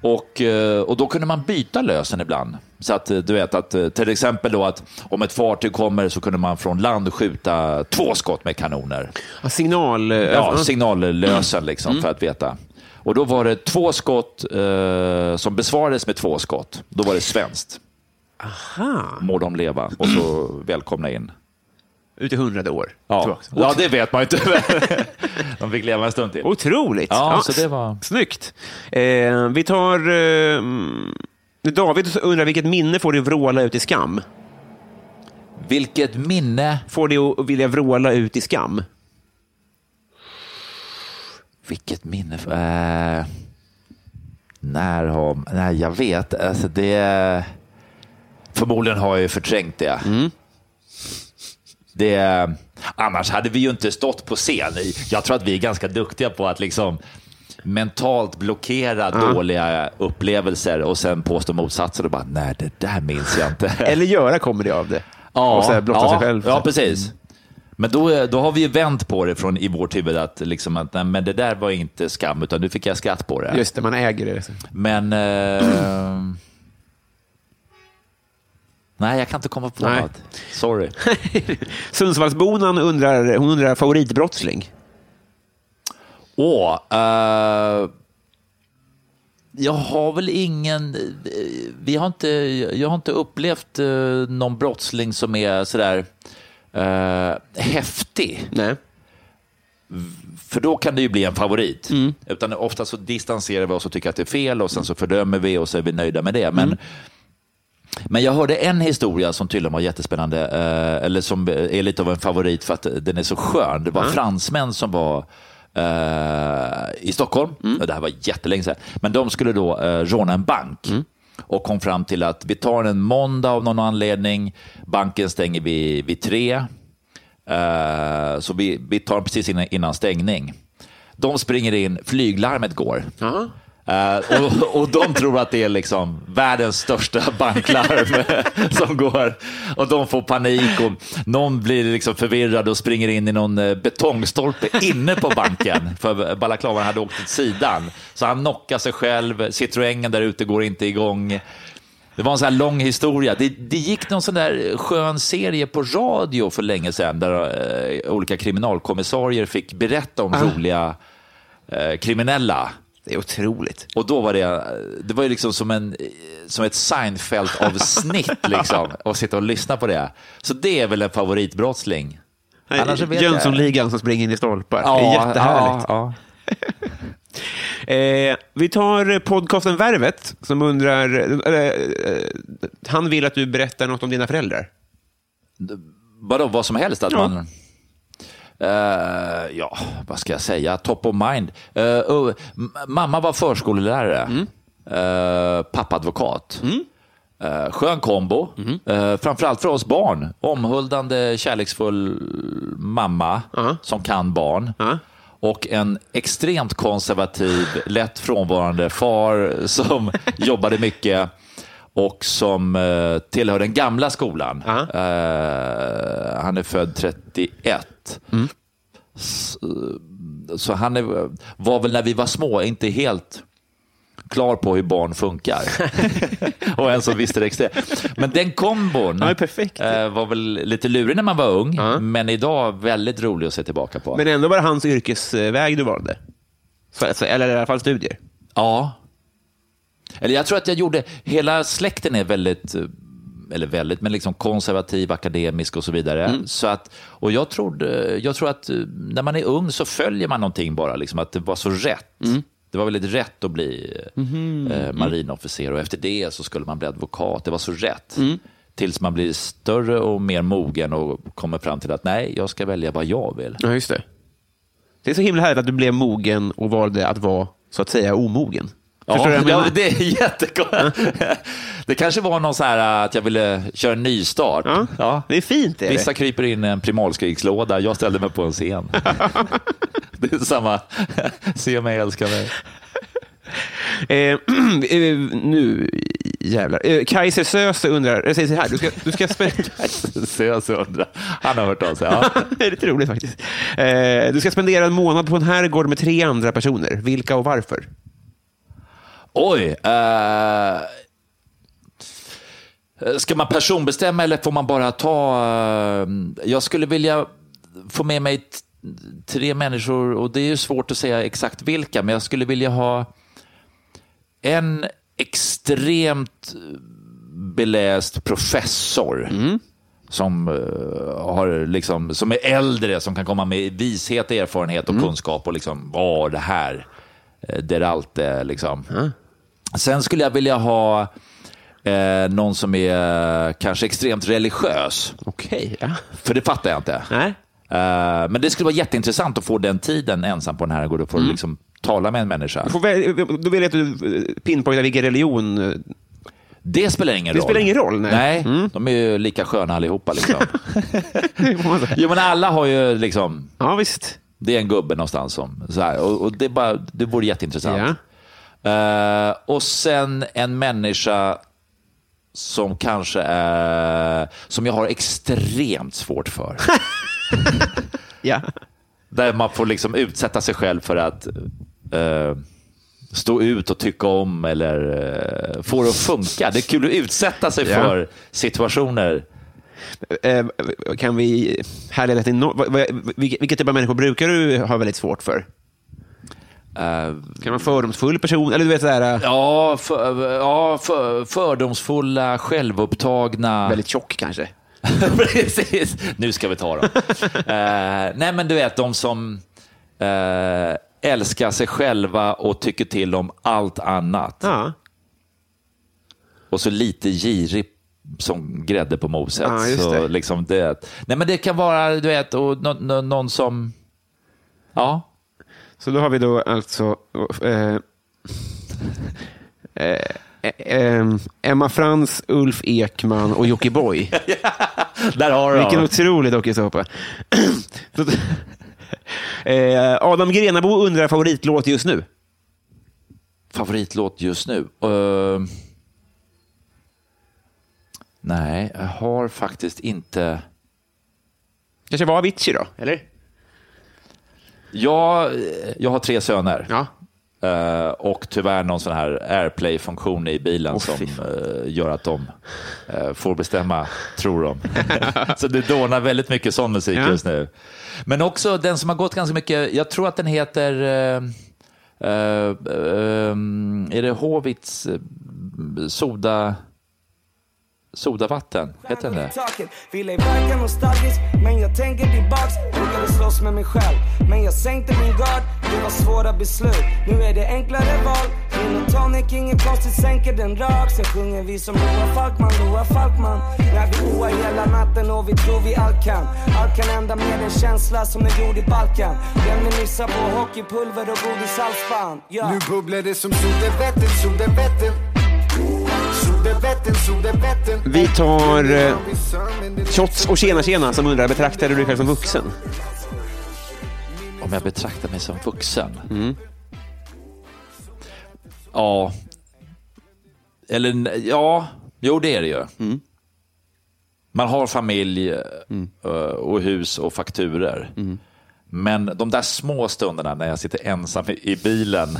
S3: Och, eh, och då kunde man byta lösen ibland. Så att eh, du vet att eh, till exempel då att om ett fartyg kommer så kunde man från land skjuta två skott med kanoner.
S2: Ja, signal... eh,
S3: Ja,
S2: ja.
S3: signallösen liksom för att veta. Och då var det två skott eh, som besvarades med två skott. Då var det svenskt. Aha. Må de leva och så välkomna in.
S2: Ut i hundrade år.
S3: Ja,
S2: Tillbaks.
S3: ja det vet man ju inte. de fick leva en stund till.
S2: Otroligt!
S3: Ja, så det var-
S2: Snyggt. Eh, vi tar... Eh, David undrar vilket minne får dig att vråla ut i skam?
S3: Vilket minne.
S2: Får dig att vilja vråla ut i skam?
S3: Vilket minne. Eh, när har... Nej, jag vet. Alltså det... Förmodligen har jag ju förträngt det. det. Annars hade vi ju inte stått på scen. Jag tror att vi är ganska duktiga på att liksom mentalt blockera dåliga upplevelser och sen påstå motsatsen och bara nej, det där minns jag inte.
S2: Eller göra comedy av det. Och så här blotta
S3: ja,
S2: sig själv.
S3: Ja, precis. Men då, är- då har vi ju vänt på det från i vårt huvud att, liksom att nej, men det där var inte skam, utan nu fick jag skratt på det.
S2: Just det, man äger det.
S3: Men... Eh, nej, jag kan inte komma på
S2: Nej.
S3: något. Sorry.
S2: Sundsvallsbonan undrar, hon undrar favoritbrottsling.
S3: Åh, eh, jag har väl ingen... eh, Vi har inte, jag har inte upplevt eh, någon brottsling som är sådär eh, häftig.
S2: Nej.
S3: För då kan det ju bli en favorit. Utan ofta så distanserar vi oss och tycker att det är fel och sen så fördömer vi och så är vi nöjda med det. Men, men jag hörde en historia som tydligen var jättespännande, eh, eller som är lite av en favorit för att den är så skön. Det var fransmän som var eh, i Stockholm, och det här var jättelänge sedan, men de skulle då eh, råna en bank. och kom fram till att vi tar en måndag av någon anledning, banken stänger vi vid tre, Eh, så vi, vi tar den precis innan, innan stängning. De springer in, flyglarmet går. Eh, och, och de tror att det är liksom världens största banklarm som går. Och de får panik och någon blir liksom förvirrad och springer in i någon eh, betongstolpe inne på banken. För balaklavan hade åkt åt sidan. Så han knockar sig själv, Citroengen där ute går inte igång. Det var en sån här lång historia. Det, det gick någon sån där skön serie på radio för länge sedan där eh, olika kriminalkommissarier fick berätta om roliga eh, kriminella
S2: Det är otroligt.
S3: Och då var det, det var ju liksom som, en, som ett Seinfeld-avsnitt liksom, att sitta och lyssna på det. Så det är väl en favoritbrottsling. Annars så vet jag-
S2: Jönssonligan som springer in i stolpar. det är jättehärligt.
S3: Ja,
S2: Eh, vi tar podcasten Värvet som undrar... Eh, eh, han vill att du berättar något om dina föräldrar.
S3: Vadå, vad som helst? Att
S2: Ja.
S3: man... Eh, ja, vad ska jag säga? Top of mind. Eh, oh, m- mamma var förskolelärare, Eh, pappa advokat. Eh, skön kombo, Eh, framförallt för oss barn. Omhuldande, kärleksfull mamma som kan barn. Och en extremt konservativ, lätt frånvarande far som jobbade mycket och som eh, tillhör den gamla skolan. Eh, han är född 31.
S2: Mm.
S3: S- eh, så han är, var väl när vi var små inte helt klar på hur barn funkar. och en som visste det extremt. Men den kombon
S2: Ja, det är perfekt.
S3: eh, var väl lite lurig när man var ung, men idag väldigt rolig att se tillbaka på.
S2: Men ändå var det hans yrkesväg du valde. Så, så, eller i alla fall studier.
S3: Ja. Eller jag tror att jag gjorde, hela släkten är väldigt, eh, eller väldigt, men liksom konservativ, akademisk och så vidare. Så att, och jag, trodde, jag tror att eh, när man är ung så följer man någonting bara, liksom, att det var så rätt. Det var väldigt rätt att bli eh, marinofficer och efter det så skulle man bli advokat. Det var så rätt. Tills man blir större och mer mogen och kommer fram till att nej, jag ska välja vad jag vill.
S2: Ja, just det. Det är så himla härligt att du blev mogen och valde att vara, så att säga, omogen. Förstår du vad jag
S3: ja,
S2: menar?
S3: det är jättekonstigt. Det kanske var någon så här att jag ville köra en ny start.
S2: Ja, det är fint, är det.
S3: Vissa kryper in i en primalskrikslåda, jag ställde mig på en scen. det är samma, se mig, älska mig.
S2: Eh, eh, nu jävlar. Eh, Kaiser Söze undrar, eller säger så här, du ska, du ska spendera...
S3: Så jag så undrar. Han har hört av sig. Ja.
S2: det är lite roligt faktiskt. Eh, du ska spendera en månad på en herrgård med tre andra personer. Vilka och varför?
S3: Oj! Eh, ska man personbestämma eller får man bara ta... eh, jag skulle vilja få med mig t- tre människor och det är ju svårt att säga exakt vilka, men jag skulle vilja ha en extremt beläst professor som, eh, har liksom, som är äldre, som kan komma med vishet, erfarenhet och kunskap och liksom, ja, det här, eh, det är allt eh, liksom. Sen skulle jag vilja ha eh, någon som är eh, kanske extremt religiös,
S2: Okej, ja.
S3: för det fattar jag inte.
S2: Nej.
S3: Eh, men det skulle vara jätteintressant att få den tiden ensam på den här gården och få
S2: Mm.
S3: liksom, tala med en människa.
S2: Du får väl, då vill jag att du eh, pinpointar vilken religion. eh,
S3: Det spelar ingen
S2: Det
S3: roll.
S2: spelar ingen roll, nej. Mm.
S3: de är ju lika sköna allihopa. Liksom.
S2: får man säga.
S3: jo, men alla har ju liksom...
S2: ja, visst.
S3: Det är en gubbe någonstans som... Så här, och, och det, är bara, det vore jätteintressant.
S2: Ja.
S3: Eh, och sen en människa som kanske är... Som jag har extremt svårt för.
S2: Ja.
S3: Där man får liksom utsätta sig själv för att eh, stå ut och tycka om eller eh, få det att funka. Det är kul att utsätta sig
S2: Ja.
S3: för situationer.
S2: Eh, kan vi härleda till no- vad- vad- vilken vilken typ av människor brukar du ha väldigt svårt för?
S3: Eh,
S2: Kan vara fördomsfull person? Eller du vet eh, sådär, ja.
S3: ja, för, ja för, fördomsfulla, självupptagna.
S2: väldigt tjock kanske?
S3: Precis. Nu ska vi ta dem. Eh, nej, men du vet, de som eh, älskar sig själva och tycker till om allt annat.
S2: Ja,
S3: Och så lite girig som grädde på moset.
S2: Ja, just
S3: så
S2: det.
S3: Liksom det. Nej, men det kan vara du vet, och nå, nå, någon som... Ja,
S2: så då har vi då alltså eh, eh, eh, Emma Frans, Ulf Ekman och Jocke Boy.
S3: där har du
S2: Vilken
S3: dem.
S2: otrolig dokusåpa. eh, Adam Grenabo undrar favoritlåt just nu.
S3: favoritlåt just nu? Eh, nej, jag har faktiskt inte...
S2: Kanske var Avicii då? Eller?
S3: Jag, jag har tre söner.
S2: Ja.
S3: Eh, och tyvärr någon sån här airplay-funktion i bilen
S2: Åh,
S3: som
S2: fy fan.
S3: eh, gör att de eh, får bestämma, tror de. så det dånar väldigt mycket sån musik
S2: Ja.
S3: just nu. Men också den som har gått ganska mycket, jag tror att den heter eh, Eh, ehm, är det Håvits eh, soda... Sodavatten? Heter den det?
S6: taket Ville i verka nostalgisk men jag tänker tillbaks Brukade slåss med mig själv men jag sänkte min gard Det var svåra beslut, nu är det enklare val Gin och tonic, inget konstigt, sänker den rakt Sen sjunger vi som Loa Falkman, Loa Falkman När vi oar hela natten och vi tror vi allt kan Allt kan hända med en känsla som är gjord i Balkan Den vi nissar på hockeypulver och godishalsband yeah.
S7: Nu bubblar det som Sodevetten, Sodevetten Sodevetten, Sodevetten
S2: Vi tar eh, Shots och tjena tjena som undrar, betraktar du dig själv som vuxen?
S3: Om jag betraktar mig som vuxen? Ja. Eller n- ja, jo det är det ju. Man har familj eh, och hus och fakturer. Men de där små stunderna när jag sitter ensam i- i bilen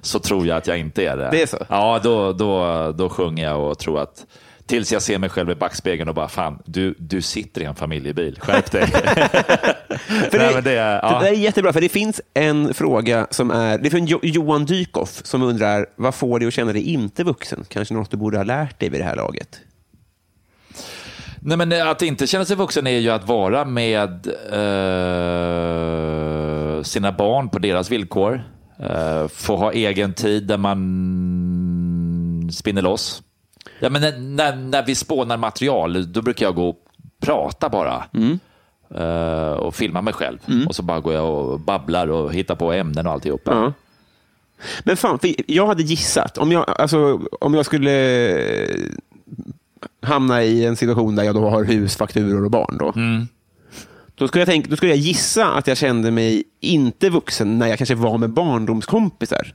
S3: så tror jag att jag inte är det.
S2: Det är så?
S3: Ja, då, då, då sjunger jag och tror att Tills jag ser mig själv i backspegeln och bara, fan, du, du sitter i en familjebil, skärp dig.
S2: För
S3: Nej, men det är- ja.
S2: det där är jättebra, för det finns en fråga som är... Det är från jo, Johan Dykhoff som undrar, vad får dig att känna dig inte vuxen? Kanske något du borde ha lärt dig vid det här laget?
S3: Nej, men eh, att inte känna sig vuxen är ju att vara med eh, sina barn på deras villkor. Eh, få ha egen tid där man spinner loss. Ja, men när, när, när vi spånar material, då brukar jag gå och prata bara. Eh, och filma mig själv. Och så bara går jag och babblar och hittar på ämnen och alltihopa.
S2: Ja. Men fan, för jag hade gissat. Om jag, alltså, om jag skulle eh, hamna i en situation där jag då har hus, fakturor och barn. Då,
S3: Mm.
S2: då, skulle jag tänka, då skulle jag gissa att jag kände mig inte vuxen när jag kanske var med barndomskompisar.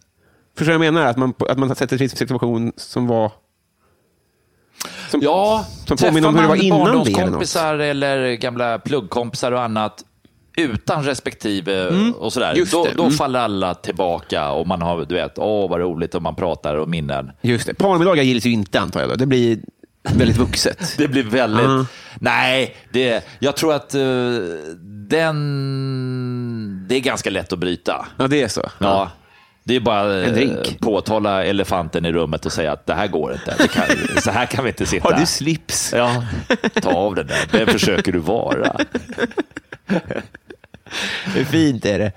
S2: Förstår du vad jag menar? Att man, att man sätter sig i en situation som var... Som,
S3: Ja,
S2: som
S3: träffar
S2: påminner om hur det var
S3: man
S2: innan det eller något.
S3: barndomskompisar eller, gamla pluggkompisar och annat utan respektive och sådär.
S2: just
S3: då
S2: det.
S3: då
S2: Mm.
S3: faller alla tillbaka och man har, du vet, åh vad roligt och man pratar och minnen.
S2: Just det. Parmiddagar gills ju inte antar jag. Då. Det blir väldigt vuxet.
S3: Det blir väldigt...
S2: Mm.
S3: Nej, det, jag tror att eh, den... Det är ganska lätt att bryta.
S2: ja, det är så.
S3: Ja. Det är bara
S2: En
S3: eh,
S2: drink.
S3: påtala elefanten i rummet och säga att det här går inte. Det kan, så här kan vi inte sitta.
S2: Har du slips?
S3: Ja, ta av den där. Det försöker du vara.
S2: Hur fint är det?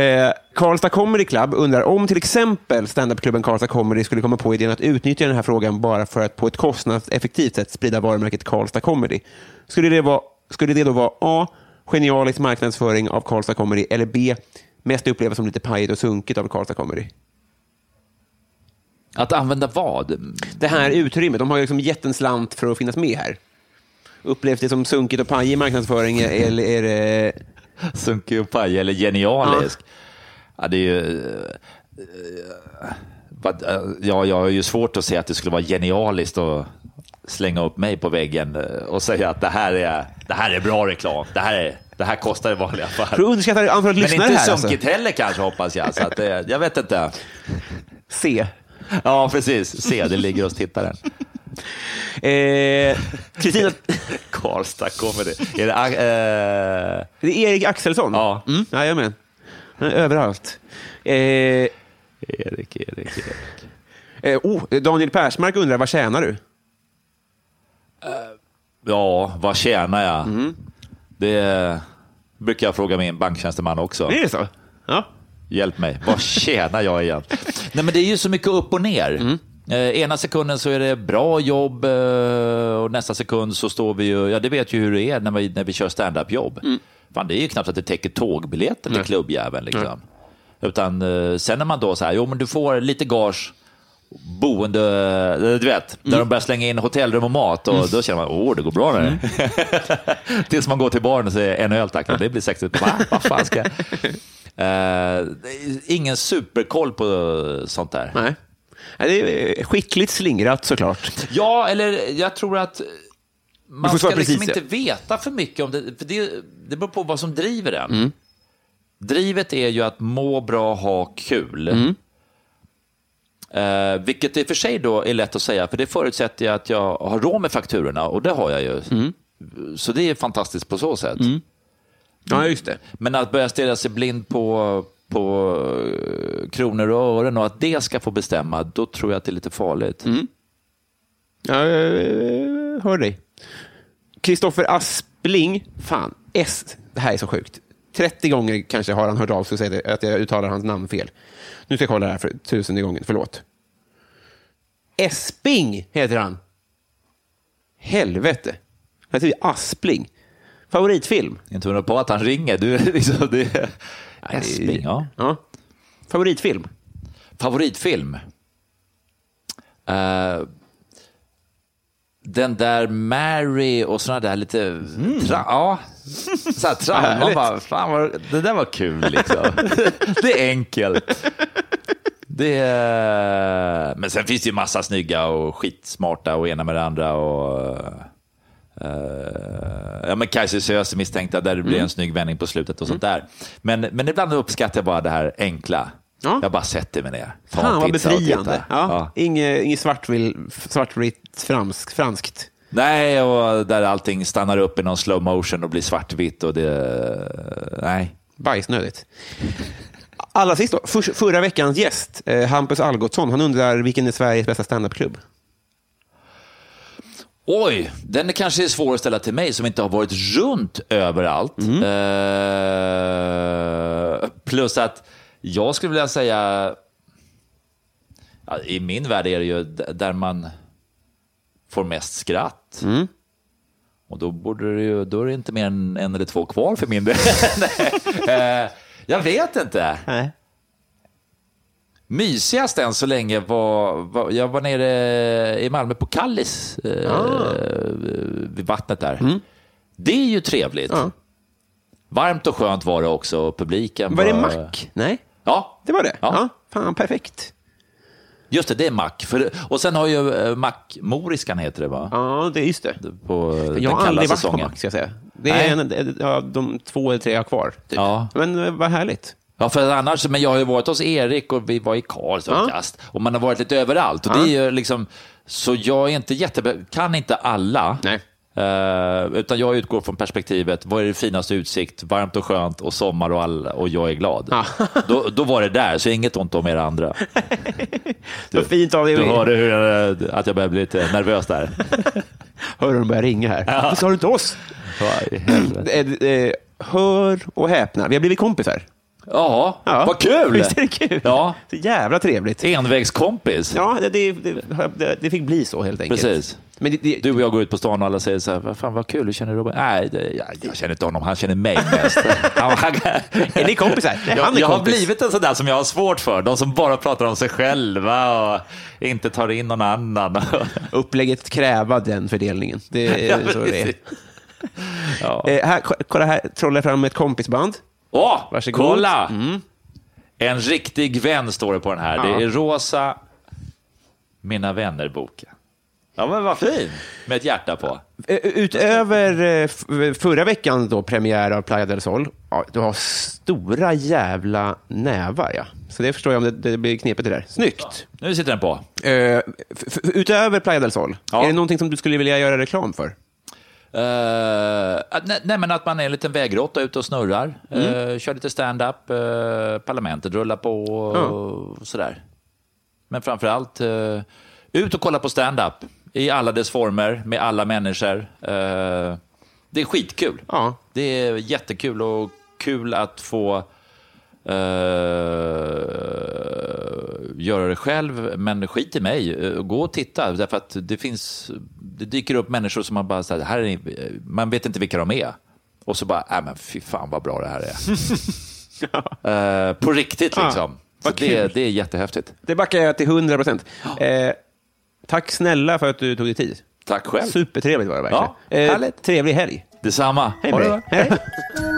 S2: Eh, Karlstad Comedy Club undrar om till exempel standupklubben Karlstad Comedy skulle komma på idén att utnyttja den här frågan bara för att på ett kostnadseffektivt sätt sprida varumärket Karlstad Comedy. Skulle det, vara, skulle det då vara A. Genialisk marknadsföring av Karlstad Comedy eller B. Mest upplevas som lite pajigt och sunkigt av Karlstad Comedy?
S3: Att använda vad?
S2: Det här utrymmet, de har ju liksom gett en slant för att finnas med här. Upplevs det som sunkigt och pajig marknadsföring eller är det...
S3: Sunkig och paj eller genialisk? Ja. det är ju... eh, vad- eh, Ja, jag har ju svårt att se att det skulle vara genialiskt att slänga upp mig på väggen eh, och säga att det här är, det här är bra reklam. Det här, är, det här kostar i vanliga
S2: Du
S3: fall.
S2: underskattar antalet
S3: Men
S2: lyssnare
S3: inte
S2: här alltså.
S3: sunkigt heller kanske, hoppas jag. Så att det, jag vet inte.
S2: C.
S3: Ja, precis. Se, det ligger hos tittaren.
S2: Eh, Kristina,
S3: Karlstad kommer det. Är det eh,
S2: det är Erik Axelsson.
S3: Ja.
S2: Mm, jajamän. Han är överallt. Eh, eh,
S3: Erik, Erik, Erik.
S2: oh, Daniel Persmark undrar, vad tjänar du?
S3: Ja, vad tjänar jag? Det brukar jag fråga min banktjänsteman också.
S2: Är det så? Ja.
S3: Hjälp mig, vad tjänar jag igen? Nej, men det är ju så mycket upp och ner. Eh, ena sekunden så är det bra jobb eh, och nästa sekund så står vi ju, ja det vet ju hur det är när vi, när vi kör standup-jobb. Fan, det är ju knappt att det täcker tågbiljetten till klubbjäveln. Liksom. Utan eh, sen när man då så här, jo men du får lite gage, boende, eh, du vet, när de börjar slänga in hotellrum och mat och då känner man, åh det går bra nu. Tills man går till baren och säger en öl tack, det blir 60, va? Vad fan ska jag? Eh, det är ingen superkoll på sånt där.
S2: Nej. Ja, Det är skickligt slingrat såklart.
S3: Ja, eller jag tror att
S2: får
S3: man ska
S2: svara
S3: liksom
S2: precis,
S3: inte veta för mycket om det. För det, det beror på vad som driver en.
S2: Mm.
S3: Drivet är ju att må bra, ha kul.
S2: Mm.
S3: Eh, vilket i och för sig då är lätt att säga, för det förutsätter jag att jag har råd med fakturorna och det har jag ju.
S2: Mm.
S3: Så det är fantastiskt på så sätt.
S2: Ja, just det.
S3: Men att börja stirra sig blind på på eh, kronor och ören och att det ska få bestämma, då tror jag att det är lite farligt.
S2: Ja, jag hör dig. Kristoffer Aspling. Fan, S. Det här är så sjukt. 30 gånger kanske har han hört av sig och sagt att jag uttalar hans namn fel. Nu ska jag kolla det här för tusende gången. Förlåt. Esping heter han. Helvete. Han heter ju Aspling. Favoritfilm?
S3: Inte undra på att han ringer. Du, är liksom, det är... Esping, ja.
S2: ja. Favoritfilm?
S3: Favoritfilm? Eh, den där Mary och såna där lite...
S2: Mm.
S3: Tra, ja, så här tram. Man bara, fan vad, det där var kul liksom. det är enkelt. Det är, men sen finns det ju massa snygga och skitsmarta och ena med det andra. Och, eh, ja, men Kajsus Öse misstänkta där det blir
S2: Mm.
S3: en snygg vändning på slutet och sånt där. Men, men ibland uppskattar jag bara det här enkla.
S2: Ja.
S3: Jag bara sätter mig ner. tar en
S2: Fan vad
S3: pizza och tittar.
S2: befriande. Ja. Inget, inget svartvil- svartvitt fransk, franskt.
S3: Nej, och där allting stannar upp i någon slow motion och blir svartvitt och det... Nej.
S2: Bajsnödigt. Allra sist då, för, förra veckans gäst, eh, Hampus Algotsson, han undrar vilken är Sveriges bästa standupklubb?
S3: Oj, den är kanske är svår att ställa till mig som inte har varit runt överallt. Eh, plus att jag skulle vilja säga, ja, i min värld är det ju d- där man får mest skratt.
S2: Mm.
S3: Och då, borde det ju, då är det inte mer än en eller två kvar för min del. Nej, eh, jag vet inte.
S2: Nej.
S3: Mysigast än så länge var, var jag var nere i Malmö på Kallis, eh,
S2: Ah.
S3: vid vattnet där.
S2: Mm.
S3: Det är ju trevligt. Varmt och skönt var det också. och Publiken
S2: Var det Mack? Nej,
S3: Ja,
S2: det var det. Ja.
S3: Ja.
S2: fan, perfekt.
S3: just det, det är Mack. För, och sen har ju eh, Mack-moriskan heter det va?
S2: Ja, det, just det.
S3: På eh, den
S2: Jag har
S3: kalla
S2: aldrig varit
S3: säsongen.
S2: på Mack, ska jag säga. Det är en, ja, de två eller tre jag har kvar. Typ.
S3: Ja.
S2: Men eh, vad härligt.
S3: Ja, för annars, men jag har ju varit hos Erik och vi var i Karlstad och kast. Och man har varit lite överallt. Och det är ju liksom, så jag är inte jätte, kan inte alla.
S2: Nej.
S3: Eh, utan jag utgår från perspektivet, vad är det finaste utsikt, varmt och skönt och sommar och, all, och jag är glad. Då, då var det där, så inget ont om er andra.
S2: Vad fint av dig.
S3: Du hörde hur jag, att jag började bli lite nervös där.
S2: Hör de börjar ringa här. Varför sa du inte oss?
S3: Vad i helvete.
S2: Eh, eh, Hör och häpna, vi har blivit kompisar.
S3: Ja, vad kul!
S2: Visst är det kul?
S3: Ja,
S2: Så jävla trevligt.
S3: E- envägskompis.
S2: Ja, det, det, det, det fick bli så helt enkelt.
S3: Precis.
S2: Men det, det,
S3: Du och jag går ut på stan och alla säger så här, vad fan vad kul, hur känner du Robin? Nej, det, jag, jag känner inte honom, han känner mig mest. Han, han,
S2: Är ni kompisar? Nej, han är
S3: jag, jag har
S2: kompis.
S3: blivit en sån där som jag har svårt för, de som bara pratar om sig själva och inte tar in någon annan.
S2: upplägget kräva den fördelningen. Det är så det är.
S3: Ja.
S2: Eh, här, ko- kolla här, trolla fram ett kompisband.
S3: Åh,
S2: Varsågod. Mm.
S3: kolla! En riktig vän står det på den här. Det är rosa, Mina vänner-boken. Ja, men vad fin! Med ett hjärta på.
S2: Eh, Utöver eh, f- förra veckan då, premiär av Playa del Sol, ja, du har stora jävla nävar. Ja. Så det förstår jag om det, det blir knepigt det där. Snyggt!
S3: Nu sitter den på.
S2: Eh, f- f- utöver Playa del Sol,
S3: Ja.
S2: är det någonting som du skulle vilja göra reklam för?
S3: Eh, att- nej, nej, men att man är en liten vägråtta ute och snurrar. Eh, kör lite stand-up, eh, parlamentet rullar på och, och sådär. Men framför allt, eh, ut och kolla på stand-up i alla dess former, med alla människor. Eh, det är skitkul.
S2: Ja.
S3: Det är jättekul och kul att få eh, göra det själv, men skit i mig. Eh, gå och titta, därför att det finns, det dyker upp människor som man bara, så här, här är, man vet inte vilka de är. Och så bara, nej men fy fan vad bra det här är. Eh, på riktigt
S2: Ja,
S3: liksom. Så
S2: vad kul.
S3: det, det är jättehäftigt.
S2: Det backar jag till 100 procent. Eh, tack snälla för att du tog dig tid.
S3: Tack själv.
S2: Supertrevligt var det verkligen. Eh,
S3: Ja, härligt.
S2: trevlig helg.
S3: Detsamma.
S2: Hej
S3: Ha
S2: med
S3: det
S2: dig.
S3: bra.
S2: Hej.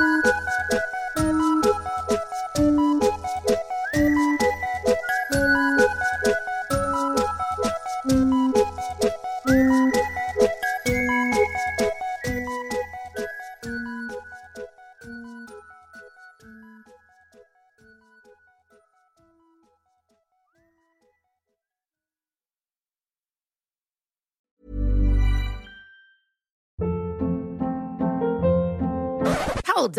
S8: Hold